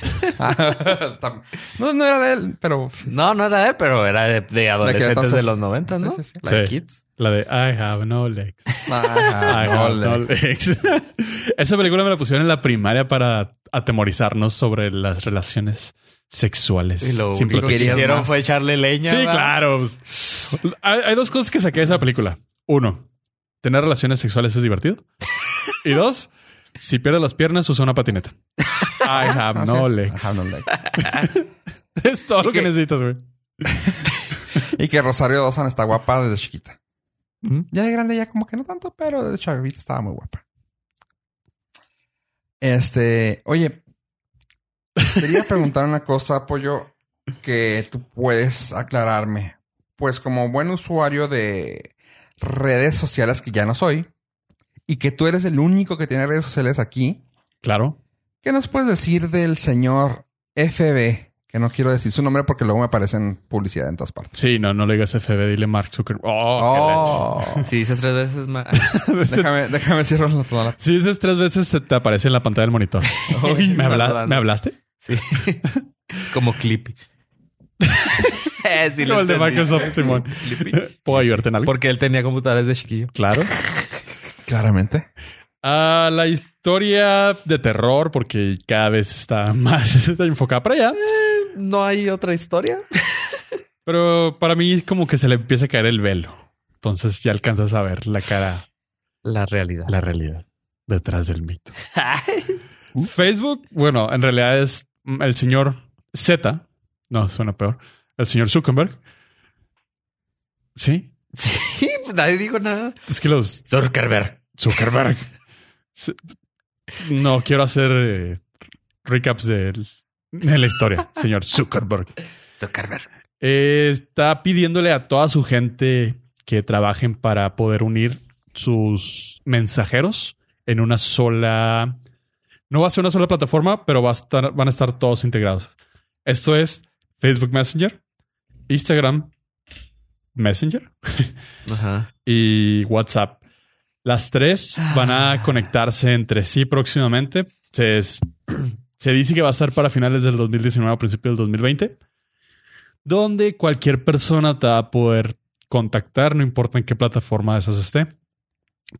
A: Tam- no, no era de él, pero...
C: No, no era de él, pero era de, de adolescentes
A: entonces-
C: de los 90, ¿no?
A: Sí, sí, sí.
C: La de
B: Sí.
C: Kids.
B: La de I have no legs. I
A: Ajá,
B: have
A: ole.
B: no legs. Esa película me la pusieron en la primaria para atemorizarnos sobre las relaciones sexuales.
C: Y lo
B: sin
C: único que
B: protección.
A: querías
C: hicieron
A: más.
C: fue echarle leña.
B: Sí,
C: ¿verdad?
B: claro. Hay, hay dos cosas que saqué de esa película. Uno, tener relaciones sexuales es divertido. Y dos, si pierdes las piernas, usa una patineta. I have
A: Así
B: no
A: es.
B: legs.
A: I have no legs.
B: Es todo lo que
A: ¿Qué?
B: necesitas, güey.
A: Y que Rosario Dawson está guapa desde chiquita.
C: Ujú.
A: Ya de grande, ya como que no tanto, pero de chavita estaba muy guapa. Este, oye, quería preguntar una cosa, Pollo, que tú puedes aclararme. Pues como buen usuario de redes sociales que ya no soy, y que tú eres el único que tiene redes sociales aquí,
B: Claro.
A: ¿qué nos puedes decir del señor FB? Que no quiero decir su nombre porque luego me aparecen publicidad en todas partes.
B: Sí, no, no le digas FB, dile Mark Zuckerberg. Oh,
A: Oh,
C: Si dices tres veces más.
B: qué leche.
A: déjame, déjame cierro toda la
B: Si dices tres veces, se te aparece en la pantalla del monitor. Uy, ¿me, habla-
C: Saludando.
B: ¿me hablaste?
C: Sí. Como Clippy. Eh, sí lo
B: Como el de
C: entendí.
B: Microsoft, Simón.
C: Clippy.
B: ¿Puedo ayudarte en algo?
C: Porque él tenía computadoras de chiquillo.
B: Claro.
A: Claramente.
B: A la historia de terror, porque cada vez está más enfocada para allá.
C: ¿No hay otra historia?
B: Pero para mí es como que se le empieza a caer el velo. Entonces ya alcanzas a ver la cara,
C: La realidad.
B: la realidad detrás del mito. Facebook, bueno, en realidad es mm, el señor Z. No, suena peor. El señor Zuckerberg. Sí,
C: sí, pues nadie dijo nada.
B: es que los
C: Zuckerberg.
B: Zuckerberg. Se- No quiero hacer eh, recaps de, de la historia, señor Zuckerberg.
C: Zuckerberg.
B: Eh, está pidiéndole a toda su gente que trabajen para poder unir sus mensajeros en una sola. No va a ser una sola plataforma, pero va a estar, van a estar todos integrados. Esto es Facebook Messenger, Instagram Messenger
C: Ajá.
B: y WhatsApp. Las tres van a conectarse entre sí próximamente. Se, es- se dice que va a estar para finales del 2019 o principios del 2020, donde cualquier persona te va a poder contactar, no importa en qué plataforma de esas esté,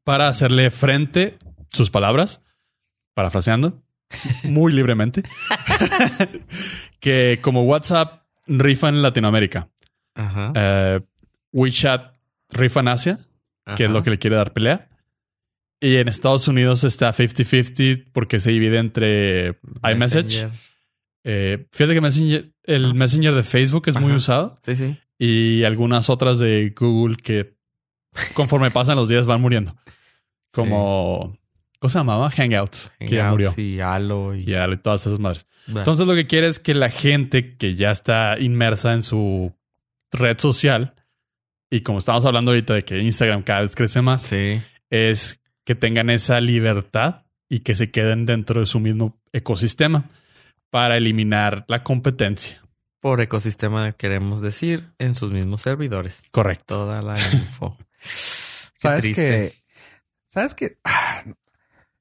B: para hacerle frente sus palabras, parafraseando, muy libremente, que como WhatsApp rifa en Latinoamérica,
C: Ajá.
B: eh, WeChat rifa en Asia,
C: Eh,
B: que es lo que le quiere dar pelea. Y en Estados Unidos está 50-50 porque se divide entre iMessage. Eh, fíjate que Messenger- el
C: Ajá.
B: Messenger de Facebook es muy
C: Ajá.
B: usado
C: Sí, sí.
B: y algunas otras de Google que conforme pasan los días van muriendo. Como, ¿cómo se llamaba? Hangouts, que ya
C: Hangouts Ah.
B: murió.
C: Y Halo y...
B: Y ya, todas esas madres.
C: Bueno.
B: Entonces lo que quiere es que la gente que ya está inmersa en su red social, y como estamos hablando ahorita de que Instagram cada vez crece más,
C: Sí.
B: es que tengan esa libertad y que se queden dentro de su mismo ecosistema para eliminar la competencia.
C: Por ecosistema queremos decir en sus mismos servidores.
B: Correcto.
C: Toda la info. Qué
A: ¿Sabes
C: triste.
A: que ¿Sabes que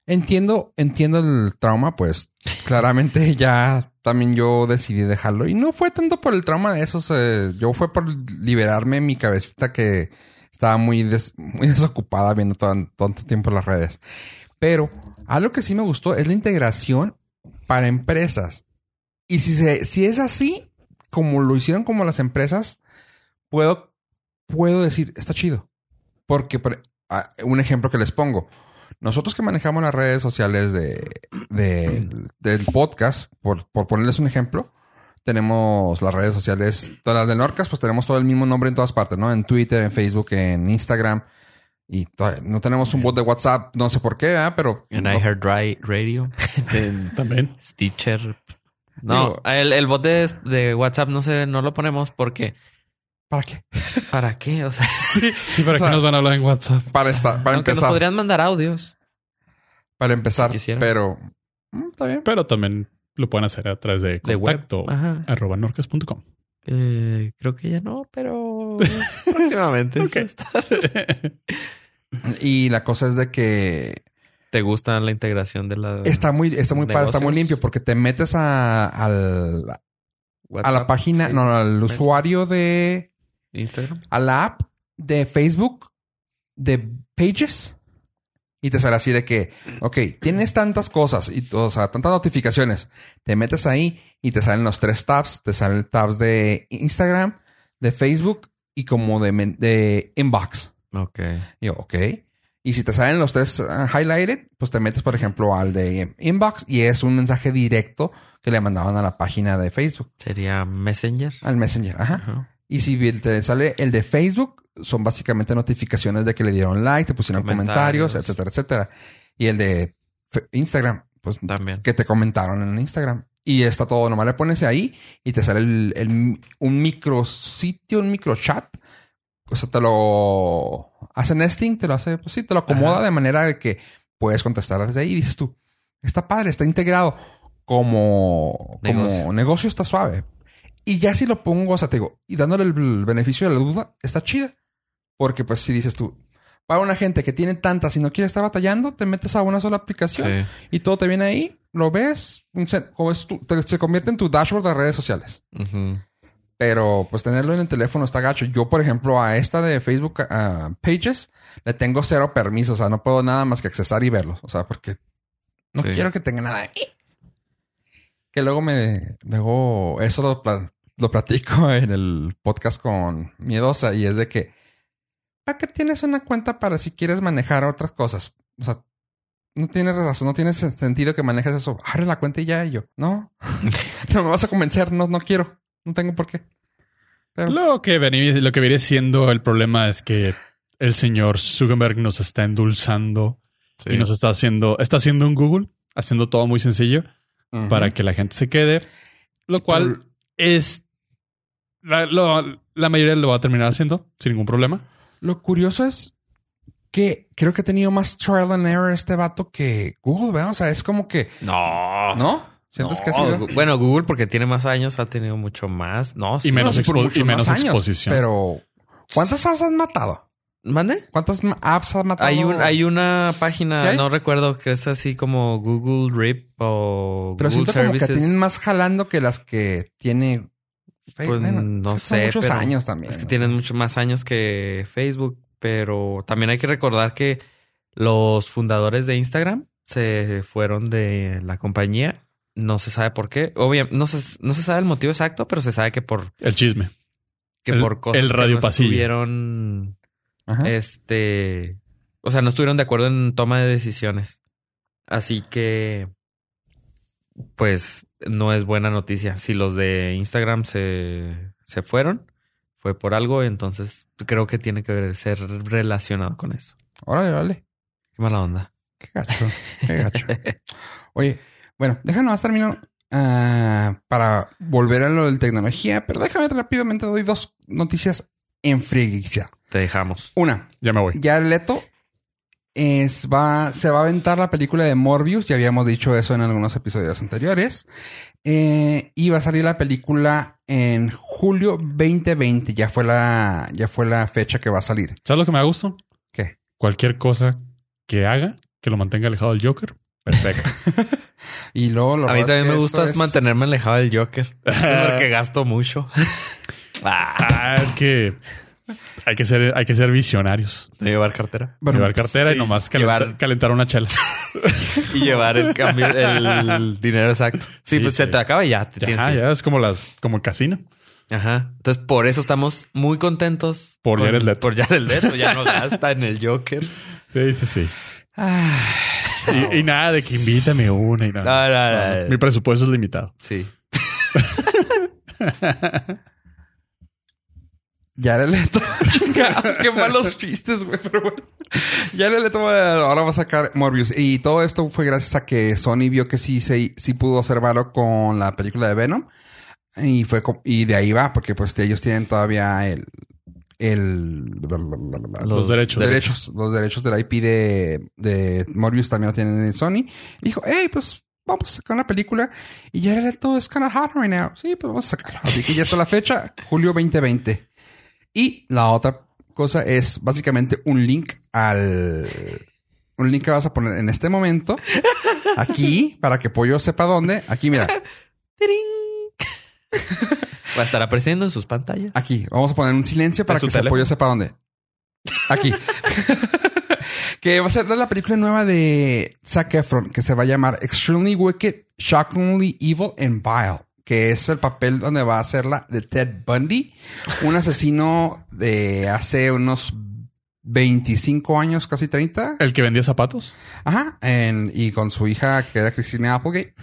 A: Entiendo, entiendo el trauma, pues claramente ya también yo decidí dejarlo. Y no fue tanto por el trauma de eso, se- yo fue por liberarme mi cabecita que estaba muy, des- muy desocupada viendo tan- tanto tiempo las redes. Pero algo que sí me gustó es la integración para empresas. Y si, se, si es así, como lo hicieron como las empresas, puedo, puedo decir, está chido. Porque, por- ah, un ejemplo que les pongo. Nosotros que manejamos las redes sociales de, de- del podcast, por, por ponerles un ejemplo, tenemos las redes sociales, todas las del Norcas, pues tenemos todo el mismo nombre en todas partes, ¿no? En Twitter, en Facebook, en Instagram. Y to- no tenemos un bot de WhatsApp, no sé por qué, ¿verdad? Pero...
C: En
A: no-
C: iHeart Ri- Radio. en
B: También.
C: Stitcher. No,
A: Digo-
C: el, el bot de, de WhatsApp no sé, no lo ponemos porque
A: ¿Para qué?
C: ¿para qué? O sea,
B: Sí, ¿para
A: O sea,
B: qué nos van a hablar en WhatsApp?
A: Para, esta, para
C: aunque nos
A: empezar.
C: podrían mandar audios.
A: Para empezar.
C: si quisieran.
A: pero... mm, Está bien.
B: Pero también lo pueden hacer a través de
C: De web.
B: contacto
C: Ajá.
B: arroba norcas.com.
C: Eh, creo que ya no, pero próximamente.
B: Ok.
A: Y la cosa es de que
C: ¿Te gusta la integración de la
A: está muy, está muy padre, está muy
C: Negocios.
A: limpio porque te metes a, al, a
C: WhatsApp,
A: la página,
C: sí,
A: no, al
C: Pues-
A: usuario de,
C: Instagram?
A: a la app de Facebook de Pages y te sale así de que, ok, tienes tantas cosas y, o sea, tantas notificaciones. Te metes ahí y te salen los tres tabs. Te salen tabs de Instagram, de Facebook y como de, men- de inbox.
C: Ok.
A: Y yo, ok. Y si te salen los tres ah, highlighted, pues te metes, por ejemplo, al de inbox y es un mensaje directo que le mandaban a la página de Facebook,
C: Sería Messenger.
A: al Messenger. Ajá.
C: Ajá.
A: Y si bien te sale el de Facebook, son básicamente notificaciones de que le dieron like, te pusieron comentarios,
C: Comentarios.
A: etcétera, etcétera. Y el de Fe- Instagram, pues
C: También.
A: que te comentaron en Instagram. Y está todo, nomás le pones ahí y te sale el, el- un micrositio, un microchat. O sea, te lo hace nesting, te lo hace, pues sí, te lo acomoda
C: Ajá.
A: de manera de que puedes contestar desde ahí. Y dices tú, está padre, está integrado. Como,
C: Negocio.
A: como negocio está suave. Y ya si lo pongo, o sea, te digo, y dándole el, el beneficio de la duda, está chida. Porque pues si dices tú, para una gente que tiene tantas y no quiere estar batallando, te metes a una sola aplicación
C: Sí.
A: y todo te viene ahí, lo ves, se, como es tu- te- se convierte en tu dashboard de redes sociales.
C: Ujú.
A: Pero pues tenerlo en el teléfono está gacho. Yo, por ejemplo, a esta de Facebook ah, Pages le tengo cero permiso. O sea, no puedo nada más que accesar y verlos. O sea, porque no
C: Sí.
A: quiero que tenga nada ahí. Que luego me... Luego eso lo, pla- lo platico en el podcast con Miedosa y es de que... ¿Para qué tienes una cuenta para si quieres manejar otras cosas? O sea, no tienes razón, no tiene sentido que manejes eso. Abre la cuenta y ya y yo. No, no me vas a convencer, no, no quiero, no tengo por qué. Pero,
B: Lo que, venía, lo que viene siendo el problema es que el señor Zuckerberg nos está endulzando
C: Sí.
B: y nos está haciendo, está haciendo un Google, haciendo todo muy sencillo
A: Ujú.
B: para que la gente se quede, lo cual es la, lo- la mayoría lo va a terminar haciendo sin ningún problema.
A: Lo curioso es que creo que ha tenido más trial and error este vato que Google, ¿verdad? O sea, es como que,
C: No.
A: ¿no? ¿Sientes
C: Ah, No,
A: que ha sido?
C: Gu- Bueno, Google, porque tiene más años, ha tenido mucho más. No, sí.
B: Y menos,
A: sí, por
B: expo-
A: muchos
B: y menos
A: más años,
B: exposición.
A: Pero, ¿cuántas apps has matado?
C: ¿Mande?
A: ¿Cuántas ma- apps has matado?
C: Hay, un, hay una página,
A: ¿Sí hay?
C: no recuerdo, que es así como Google RIP o
A: Pero
C: Google
A: siento
C: Services.
A: como que tienen más jalando que las que tiene.
C: Pues, no
A: son
C: sé,
A: Muchos
C: pero
A: años también.
C: Es que
A: ¿no?
C: tienen muchos más años que Facebook, pero también hay que recordar que los fundadores de Instagram se fueron de la compañía. No se sabe por qué. Obviamente, no se, no se sabe el motivo exacto, pero se sabe que por,
B: El chisme.
C: que
B: El-
C: por cosas
B: el
C: que
B: radio
C: no
B: pasillo.
C: estuvieron,
A: Ajá.
C: eh, este, o sea, no estuvieron de acuerdo en toma de decisiones. Así que, pues, no es buena noticia. Si los de Instagram se, se fueron, fue por algo, entonces creo que tiene que ver- ser relacionado con eso.
A: Órale, órale.
C: Qué mala onda.
A: Qué gacho, qué gacho. Oye, bueno, déjanos más termino ah, para volver a lo de tecnología, pero déjame rápidamente doy dos noticias en frieguicia.
C: Te dejamos.
A: Una,
B: Ya me voy.
A: ya el Leto es, va, se va a aventar la película de Morbius, ya habíamos dicho eso en algunos episodios anteriores, Eh, y va a salir la película en julio 2020, ya fue la, ya fue la fecha que va a salir.
B: ¿Sabes lo que me da gusto?
A: ¿Qué?
B: Cualquier cosa que haga que lo mantenga alejado del Joker. Perfecto.
A: Y luego lo
C: A mí
A: verdad es
C: también me
A: que
C: gusta
A: esto es-
C: mantenerme alejado del Joker. es porque gasto mucho. Ah,
B: Ah, es que hay que ser, hay que ser visionarios.
C: de llevar cartera.
A: Bueno,
B: llevar cartera y nomás calenta-
C: llevar-
B: calentar una chela.
C: Y llevar el, cambio, el dinero exacto.
B: Sí,
C: Sí, pues
B: sí.
C: se te acaba y ya te tienes
B: Ajá,
C: que ir.
B: ya es como las, como el casino.
C: Ajá. Entonces, por eso estamos muy contentos.
B: Por
C: con-
B: Jared Leto.
C: Por Jared Leto. Ya no gasta en el Joker.
B: Sí, sí, sí.
A: Ah,
B: Y, y nada de que invítame una y nada.
C: No, no, no,
B: No, no.
C: no.
B: Ah, Mi presupuesto es limitado.
C: Sí.
A: Jared Leto. Chingado, qué malos chistes, güey, pero bueno. Jared Leto va- ahora va a sacar Morbius. Y todo esto fue gracias a que Sony vio que sí, se, sí pudo hacer varo con la película de Venom. Y fue co- y de ahí va, porque pues ellos tienen todavía el... el
B: Los, derechos.
A: derechos. Los derechos del IP de, de Morbius también lo tienen en Sony. Y dijo, hey, pues vamos a sacar una película. Y ya era todo, es kind of hot right now. Sí, pues vamos a sacarlo. Así que ya está la fecha, julio 2020. Y la otra cosa es básicamente un link al... Un link que vas a poner en este momento. Aquí, para que Pollo sepa dónde. Aquí, mira.
C: ¡Tirín! Va a estar apareciendo en sus pantallas.
A: Aquí, vamos a poner un silencio para
C: ¿Es su
A: que se
C: teléfono?
A: apoyo sepa dónde. Aquí. que va a ser de la película nueva de Zac Efron, que se va a llamar Extremely Wicked, Shockingly Evil and Vile, que es el papel donde va a hacerla de Ted Bundy, un asesino de hace unos 25 años, casi 30.
B: El que vendía zapatos.
A: Ajá, en- y con su hija que era Christina Applegate.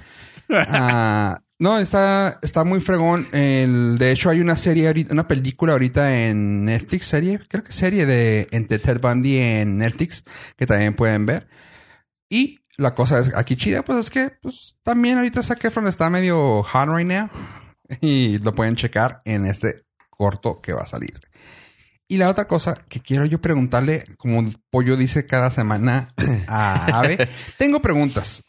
A: Ah, No, está, está muy fregón. El, de hecho, hay una serie ahorita, una película ahorita en Netflix, serie, creo que serie de entre Ted Bundy en Netflix, que también pueden ver. Y la cosa es aquí chida, pues es que pues, también ahorita Zac Efron está medio hard right now. Y lo pueden checar en este corto que va a salir. Y la otra cosa que quiero yo preguntarle, como el Pollo dice cada semana Ah, a Ave, tengo preguntas.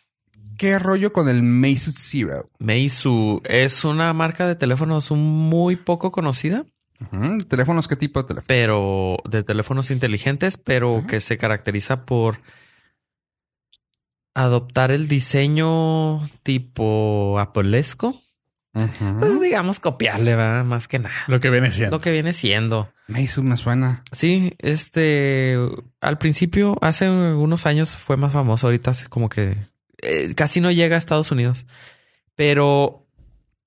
A: ¿Qué rollo con el Meizu Zero?
C: Meizu es una marca de teléfonos muy poco conocida,
A: Ujú, ¿Teléfonos? ¿Qué tipo de teléfono?
C: pero de teléfonos inteligentes, pero
A: Ajá.
C: que se caracteriza por adoptar el diseño tipo apolesco. Pues
A: Ujú.
C: digamos copiarle, ¿verdad? Más que nada.
B: Lo que viene
C: Lo
B: siendo.
C: que viene siendo.
A: Meizu me suena.
C: Sí, este, al principio, hace unos años fue más famoso, ahorita hace como que eh, casi no llega a Estados Unidos, pero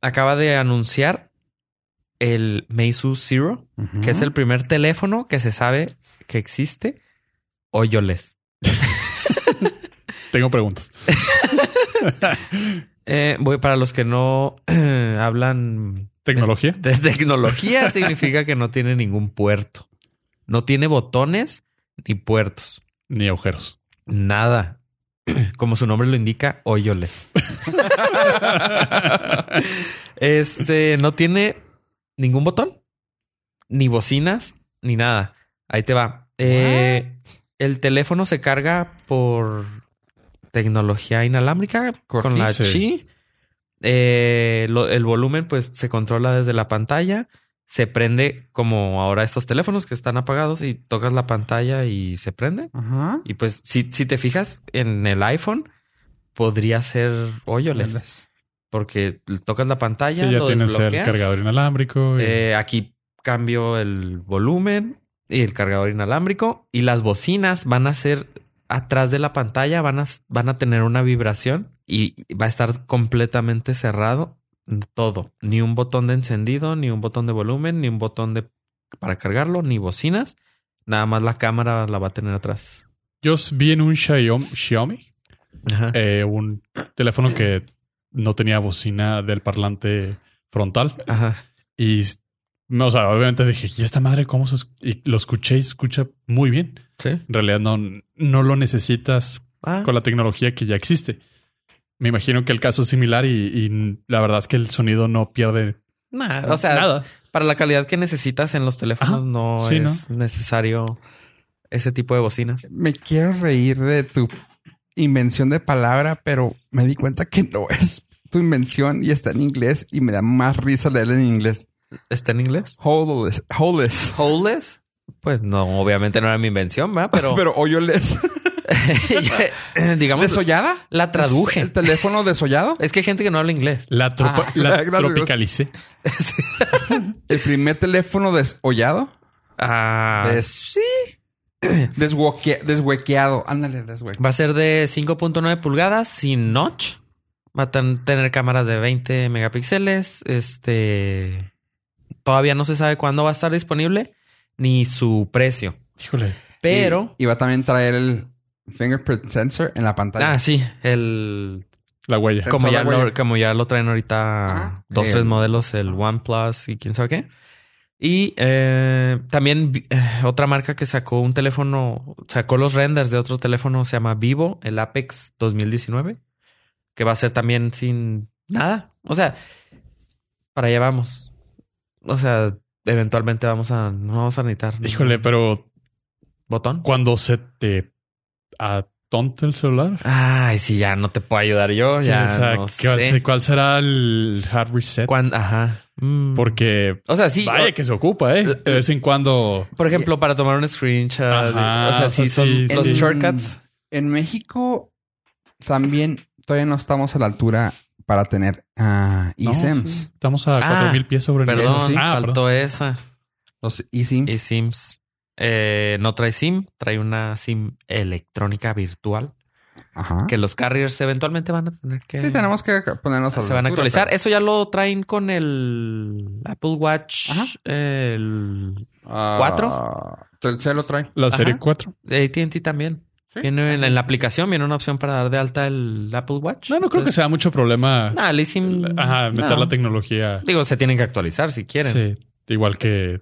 C: acaba de anunciar el Meizu Zero,
A: Ujú.
C: que es el primer teléfono que se sabe que existe hoyoless.
B: Tengo preguntas.
C: Eh, voy para los que no eh, hablan
B: Tecnología.
C: de tecnología, significa que no tiene ningún puerto. No tiene botones ni puertos.
B: Ni agujeros.
C: Nada. Como su nombre lo indica, hoyoles. este no tiene ningún botón, ni bocinas, ni nada. Ahí te va. Eh, el teléfono se carga por tecnología inalámbrica con la
B: Sí.
C: chi. Eh, lo- el volumen, pues, se controla desde la pantalla. Se prende como ahora estos teléfonos que están apagados y tocas la pantalla y se prende.
A: Ajá.
C: Y pues, si, si te fijas en el iPhone, podría ser hoyoless. Porque tocas la pantalla,
B: sí, ya
C: lo
B: tienes el
C: desbloqueas.
B: cargador inalámbrico. y-
C: Eh, aquí cambio el volumen y el cargador inalámbrico. Y las bocinas van a ser atrás de la pantalla, van a, van a tener una vibración y va a estar completamente cerrado todo. Ni un botón de encendido, ni un botón de volumen, ni un botón de para cargarlo, ni bocinas. Nada más la cámara la va a tener atrás.
B: Yo s- vi en un Xiaom- Xiaomi
C: Ajá.
B: eh, un teléfono que no tenía bocina del parlante frontal.
C: Ajá.
B: Y, s- no, o sea, obviamente dije, ¿y esta madre cómo se escu-?" Y lo escuché y se escucha muy bien.
C: Sí.
B: En realidad no, no lo necesitas
C: Ah,
B: con la tecnología que ya existe. Me imagino que el caso es similar y, y la verdad es que el sonido no pierde
C: nah, o sea,
B: nada.
C: para la calidad que necesitas en los teléfonos
B: Ajá.
C: no
B: Sí,
C: es necesario ese tipo de bocinas.
A: Me quiero reír de tu invención de palabra, pero me di cuenta que no es tu invención y está en inglés y me da más risa leerla en inglés.
C: ¿Está en inglés?
A: Holeless. Holeless.
C: ¿Holeless? Pues no, obviamente no era mi invención, ¿verdad? Pero,
A: Pero hoyoless.
C: digamos,
A: ¿Desollada?
C: la
A: ¿El
C: traduje.
A: teléfono desollado?
C: Es que hay gente que no habla inglés.
B: La, tropa-
A: Ah,
B: la
A: gracias.
B: tropicalicé.
C: Sí.
A: ¿El primer teléfono desollado?
C: Ah,
A: Des- sí. Deshueque- deshuequeado. Ándale, deshuequeado.
C: va a ser de 5.9 pulgadas sin notch. Va a ten- tener cámaras de 20 megapíxeles. Este todavía no se sabe cuándo va a estar disponible ni su precio.
B: Híjole.
C: Pero
A: Y, y va a también traer el fingerprint sensor en la pantalla.
C: Ah, sí, el
B: La huella.
A: Sensor
C: como ya,
A: de huella.
C: lo, como ya lo traen ahorita
A: Ajá. Eh,
C: dos,
A: El-
C: tres modelos, el OnePlus y quién sabe qué. Y eh, también vi- eh, otra marca que sacó un teléfono, sacó los renders de otro teléfono, se llama Vivo, el Apex 2019, que va a ser también sin nada. O sea, para allá vamos. O sea, eventualmente vamos a, no vamos a necesitar
B: Híjole, pero
C: botón.
B: cuando se te atonta el celular.
C: Ay, sí, ya no te puedo ayudar yo. Ya,
B: o sea,
C: no
B: ¿cuál,
C: sé.
B: cuál será el hard reset?
C: Cuan- Ajá. Mm.
B: Porque
C: O sea, sí.
B: vaya
C: o-
B: que se ocupa, ¿eh? De vez en cuando.
C: Por ejemplo, para tomar un screenshot.
B: Ajá,
C: o sea, sí,
B: o sea,
C: son
B: sí,
C: los
A: sí.
C: shortcuts.
A: En México también todavía no estamos a la altura para tener ah,
B: no,
A: eSIMs.
B: sí, estamos a 4000 pies sobre el
A: eso
C: Ah, Perdón,
A: sí.
B: Ah,
C: faltó
B: perdón.
C: esa.
A: Los eSIMs.
C: Y Sims. Eh, no trae SIM, trae una SIM electrónica virtual
A: Ajá.
C: que los carriers eventualmente van a tener que.
A: Sí, tenemos que ponernos a la
C: Se van
A: altura,
C: a actualizar.
A: pero-
C: Eso ya lo traen con el Apple Watch.
A: Ajá.
C: El
A: Ah,
C: ¿Cuatro?
A: el celo trae.
B: La serie
C: Ajá.
B: 4.
C: ATT también.
B: Sí.
C: Viene en, en la aplicación viene una opción para dar de alta el Apple Watch.
B: No, no creo que sea mucho problema
C: Nah, el eSIM,
B: ajá, meter
C: Mm, no.
B: la tecnología.
C: Digo, se tienen que actualizar si quieren.
B: Sí, igual que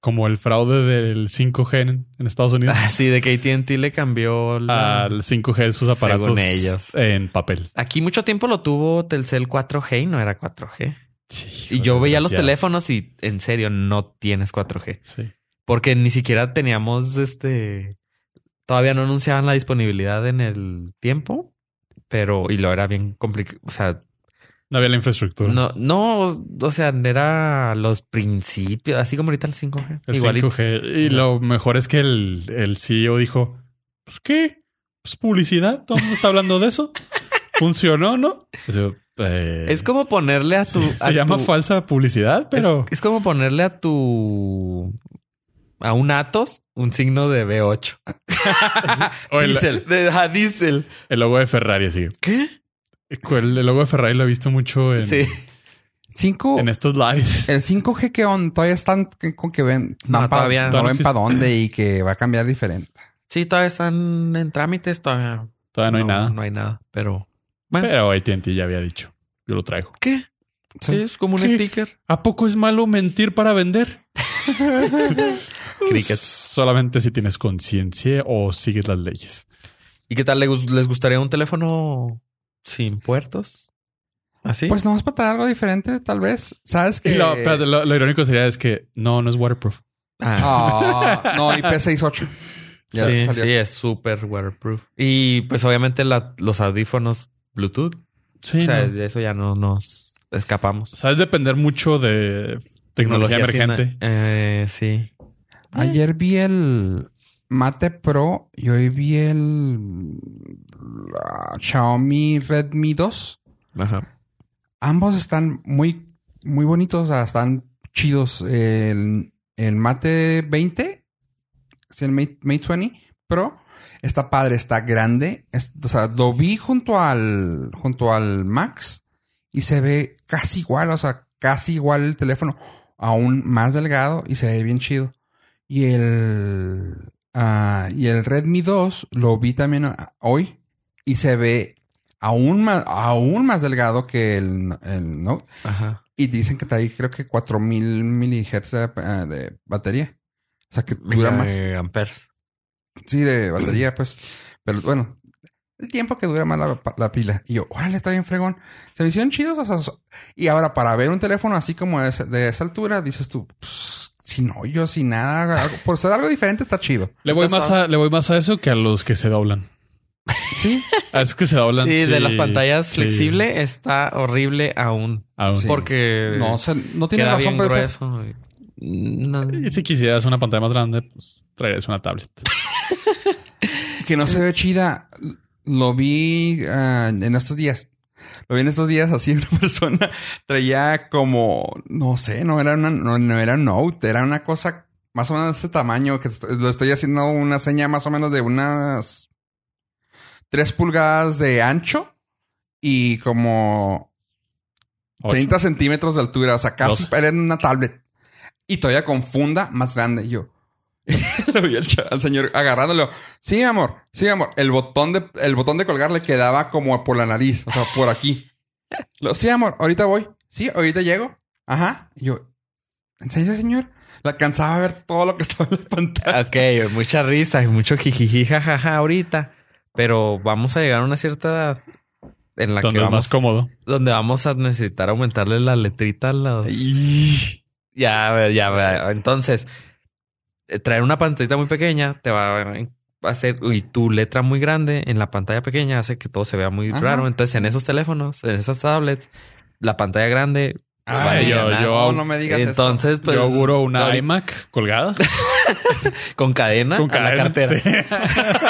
B: como el fraude del 5G en, en Estados Unidos
C: Así de que AT&T le cambió la...
B: al 5G de sus aparatos
C: Ah. Según ellos.
B: en papel.
C: Aquí mucho tiempo lo tuvo Telcel 4G y no era 4G.
B: Sí,
C: Y yo
B: joder,
C: veía
B: desgraciados.
C: los teléfonos y en serio no tienes 4G.
B: Sí.
C: Porque ni siquiera teníamos este... Todavía no anunciaban la disponibilidad en el tiempo. Pero... Y lo era bien complicado. O sea,
B: No había la infraestructura.
C: no, no... O sea, era los principios. Así como ahorita el 5G.
B: El
C: Igualito.
B: 5G. Y lo mejor es que el, el CEO dijo, pues qué, pues publicidad, todo el mundo está hablando de eso. Funcionó, ¿no? O sea, eh,
C: Es como ponerle a tu...
B: se, se
C: a
B: llama
C: tu-
B: falsa publicidad, pero
C: Es, es como ponerle a tu... A un Atos un signo de B8.
B: o el,
A: Diesel.
C: De a Diesel.
B: el logo de Ferrari, así.
C: ¿Qué?
B: El, el logo de Ferrari lo he visto mucho en,
C: Sí.
A: Cinco...
B: en estos lives.
A: El 5G que on, todavía están que- con que ven,
C: No,
A: van pa-
C: todavía
A: no
B: no
A: ven
B: existe.
A: para dónde y que va a cambiar diferente.
C: Sí, todavía están en trámites. Todavía
B: Todavía no hay nada.
C: Ah, No hay nada, pero... Bueno,
B: Pero AT&T ya había dicho. Yo lo traigo.
C: ¿qué?
A: Sí.
C: Sí, es como un
B: ¿Qué?
C: sticker.
B: ¿A poco es malo mentir para vender?
C: Crickets.
B: Solamente si tienes conciencia o sigues las leyes.
C: ¿Y qué tal le gus- les, gustaría un teléfono sin puertos? ¿Así?
A: Pues nomás para traer algo diferente, tal vez. ¿Sabes
B: Y
A: que
C: Eh.
B: lo, espérate, lo- lo irónico sería es que no, no es waterproof.
C: Ah,
A: Ah, no, IP68. Ya
C: sí,
A: salió.
C: sí, es súper waterproof. Y pues obviamente la- los audífonos Bluetooth.
B: Sí.
C: o sea,
B: no.
C: de eso ya no nos escapamos.
B: Sabes depender mucho de tecnología, emergente.
C: sin- eh, sí.
A: Ayer vi el Mate Pro y hoy vi el la Xiaomi Redmi 2.
C: Ajá.
A: Ambos están muy, muy bonitos, o sea, están chidos. El, el Mate 20, sí, el Mate, Mate 20 Pro, está padre, está grande. Es- o sea, lo vi junto al, junto al Max y se ve casi igual, o sea, casi igual el teléfono, aún más delgado y se ve bien chido. Y el, ah, y el Redmi 2 lo vi también ah, hoy y se ve aún más, aún más delgado que el, el Note.
C: Ajá.
A: Y dicen que trae creo que 4000 milihertz de, ah, de batería. O sea, que dura más.
C: Eh, amperes.
A: Sí, de batería, pues. Pero bueno, el tiempo que dura más la, la pila. Y yo, órale, está bien fregón. Se me hicieron chidos. o sea, so- y ahora, para ver un teléfono así como de, esa- de esa altura, dices tú, pues, sin hoyo, sin nada. algo- por ser algo diferente, está chido.
B: Le voy,
C: Está
B: más
C: suave.
B: a, le voy más a eso que a los que se doblan.
A: Sí.
B: A esos que se doblan.
C: Sí, de las pantallas
B: sí.
C: flexible está horrible aún.
B: Aún.
A: Sí.
C: Porque
A: No, o sea, no tiene
C: Eh, queda
A: razón
C: bien
A: para eso.
C: grueso. No.
B: Y si quisieras una pantalla más grande, pues traerías una tablet.
A: Que no se ve chida. Lo vi ah, en estos días. Lo vi en estos días así una persona traía como, no sé, no era una, no, no era un note, era una cosa más o menos de ese tamaño que est- lo estoy haciendo una seña más o menos de unas tres pulgadas de ancho y como
B: Ocho.
A: 30 centímetros de altura, o sea, casi
B: Doce.
A: era una tablet. Y todavía con funda más grande. Yo lo vi al, cha- al señor agarrándolo. Sí, amor, sí, amor. El botón de, el botón de colgar le quedaba como por la nariz, o sea, por aquí. Lo, sí, amor, ahorita voy. Sí, ahorita llego. Ajá. Y yo, ¿en serio, señor? La cansaba de ver todo lo que estaba en la pantalla.
C: Ok, mucha risa y mucho jijiji jajaja ahorita. Pero vamos a llegar a una cierta edad en la
B: Donde
C: que
B: es
C: vamos,
B: más cómodo.
C: donde vamos a necesitar aumentarle la letrita a los... Ya, a ver, ya, a ver. Entonces, eh, traer una pantallita muy pequeña te va a hacer, y tu letra muy grande en la pantalla pequeña hace que todo se vea muy
A: Ajá.
C: raro. Entonces, en esos teléfonos, en esas tablets, la pantalla grande. va a
B: yo-
C: llenar.
B: yo-
A: no, no me digas eso.
C: Entonces, pues,
B: Yo auguro una
C: ahorita-
B: iMac colgada.
C: con cadena,
B: con
C: a la
B: cadena,
C: cartera.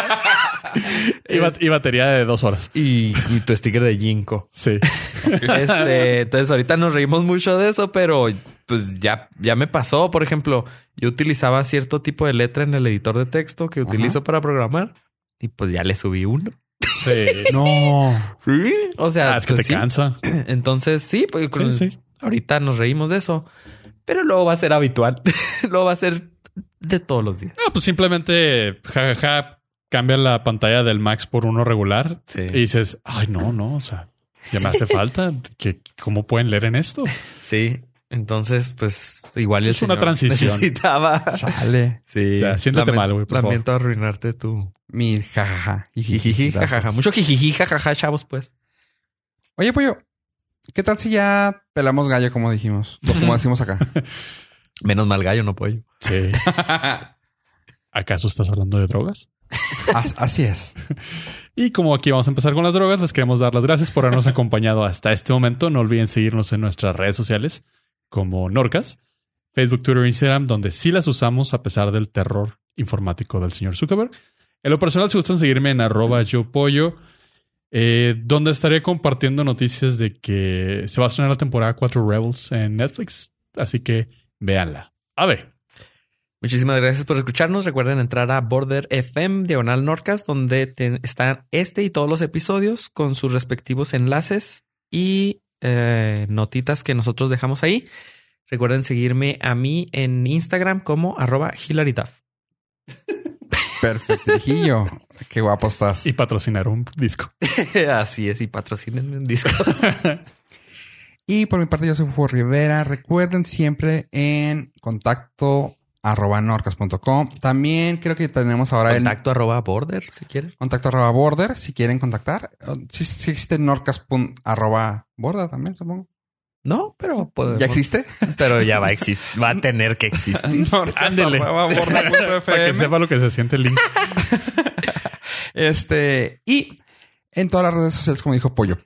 B: sí. y, bat- y batería de dos horas.
C: Y, y tu sticker de Jinko.
B: Sí.
C: Este, entonces ahorita nos reímos mucho de eso, pero pues ya, ya me pasó. Por ejemplo, yo utilizaba cierto tipo de letra en el editor de texto que
A: Ajá.
C: utilizo para programar y pues ya le subí uno.
B: Sí. No.
C: Sí. O sea,
B: Ah, es que
C: pues,
B: te
C: sí.
B: cansa.
C: Entonces sí, pues, con-
B: Sí, sí.
C: ahorita nos reímos de eso, pero luego va a ser habitual. luego va a ser de todos los días.
B: No, pues simplemente jajaja, cambia la pantalla del Max por uno regular
C: Sí.
B: y dices, ay, no, no, o sea, ya me hace falta. que ¿Cómo pueden leer en esto?
C: Sí. Entonces, pues igual y el
B: Es una
C: señor
B: transición.
C: necesitaba.
A: Chale.
C: Sí.
B: Ya, siéntate
C: Lamen-
B: mal, güey, por favor.
C: Lamento arruinarte tu
A: Mi jajaja.
C: jijiji,
A: Jijiji,
C: jajaja.
A: gracias.
C: Mucho jijiji, jajaja, chavos, pues.
A: Oye, Pollo, ¿qué tal si ya pelamos gallo como dijimos? O como decimos acá.
C: Menos mal gallo, no pollo.
B: Sí. ¿Acaso estás hablando de drogas?
A: As- así es.
B: Y como aquí vamos a empezar con las drogas, les queremos dar las gracias por habernos acompañado hasta este momento. No olviden seguirnos en nuestras redes sociales como Norcas, Facebook, Twitter, Instagram, donde sí las usamos a pesar del terror informático del señor Zuckerberg. En lo personal, si gustan seguirme en arroba yo pollo, eh, donde estaré compartiendo noticias de que se va a estrenar la temporada 4 Rebels en Netflix. Así que véanla. A ver,
C: Muchísimas gracias por escucharnos. Recuerden entrar a Border FM Diagonal Norcas, donde te- están este y todos los episodios con sus respectivos enlaces y eh, notitas que nosotros dejamos ahí. Recuerden seguirme a mí en Instagram como arroba hilaritaf.
A: Perfectijillo. Qué guapo estás.
B: y patrocinar un disco.
C: Así es, y patrocinen un disco.
A: Y por mi parte, yo soy Fofo Rivera. Recuerden siempre en contacto arroba norcas.com. También creo que tenemos ahora el
C: Contacto arroba border, si quieren.
A: contacto arroba border si quieren contactar. O Si si existe norcas pun- arroba border también, supongo.
C: No, pero podemos-
A: ¿Ya existe?
C: Pero ya va a existir, va a tener que existir.
A: Norcas
B: Ándele.
A: arroba border punto
B: Para que
A: FM.
B: sepa lo que se siente el link.
A: Este, y en todas las redes sociales, como dijo Pollo.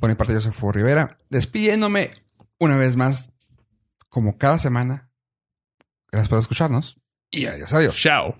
A: Por mi parte, yo soy Fuego Rivera, despidiéndome una vez más, como cada semana. Gracias por escucharnos y adiós, adiós.
B: Chao.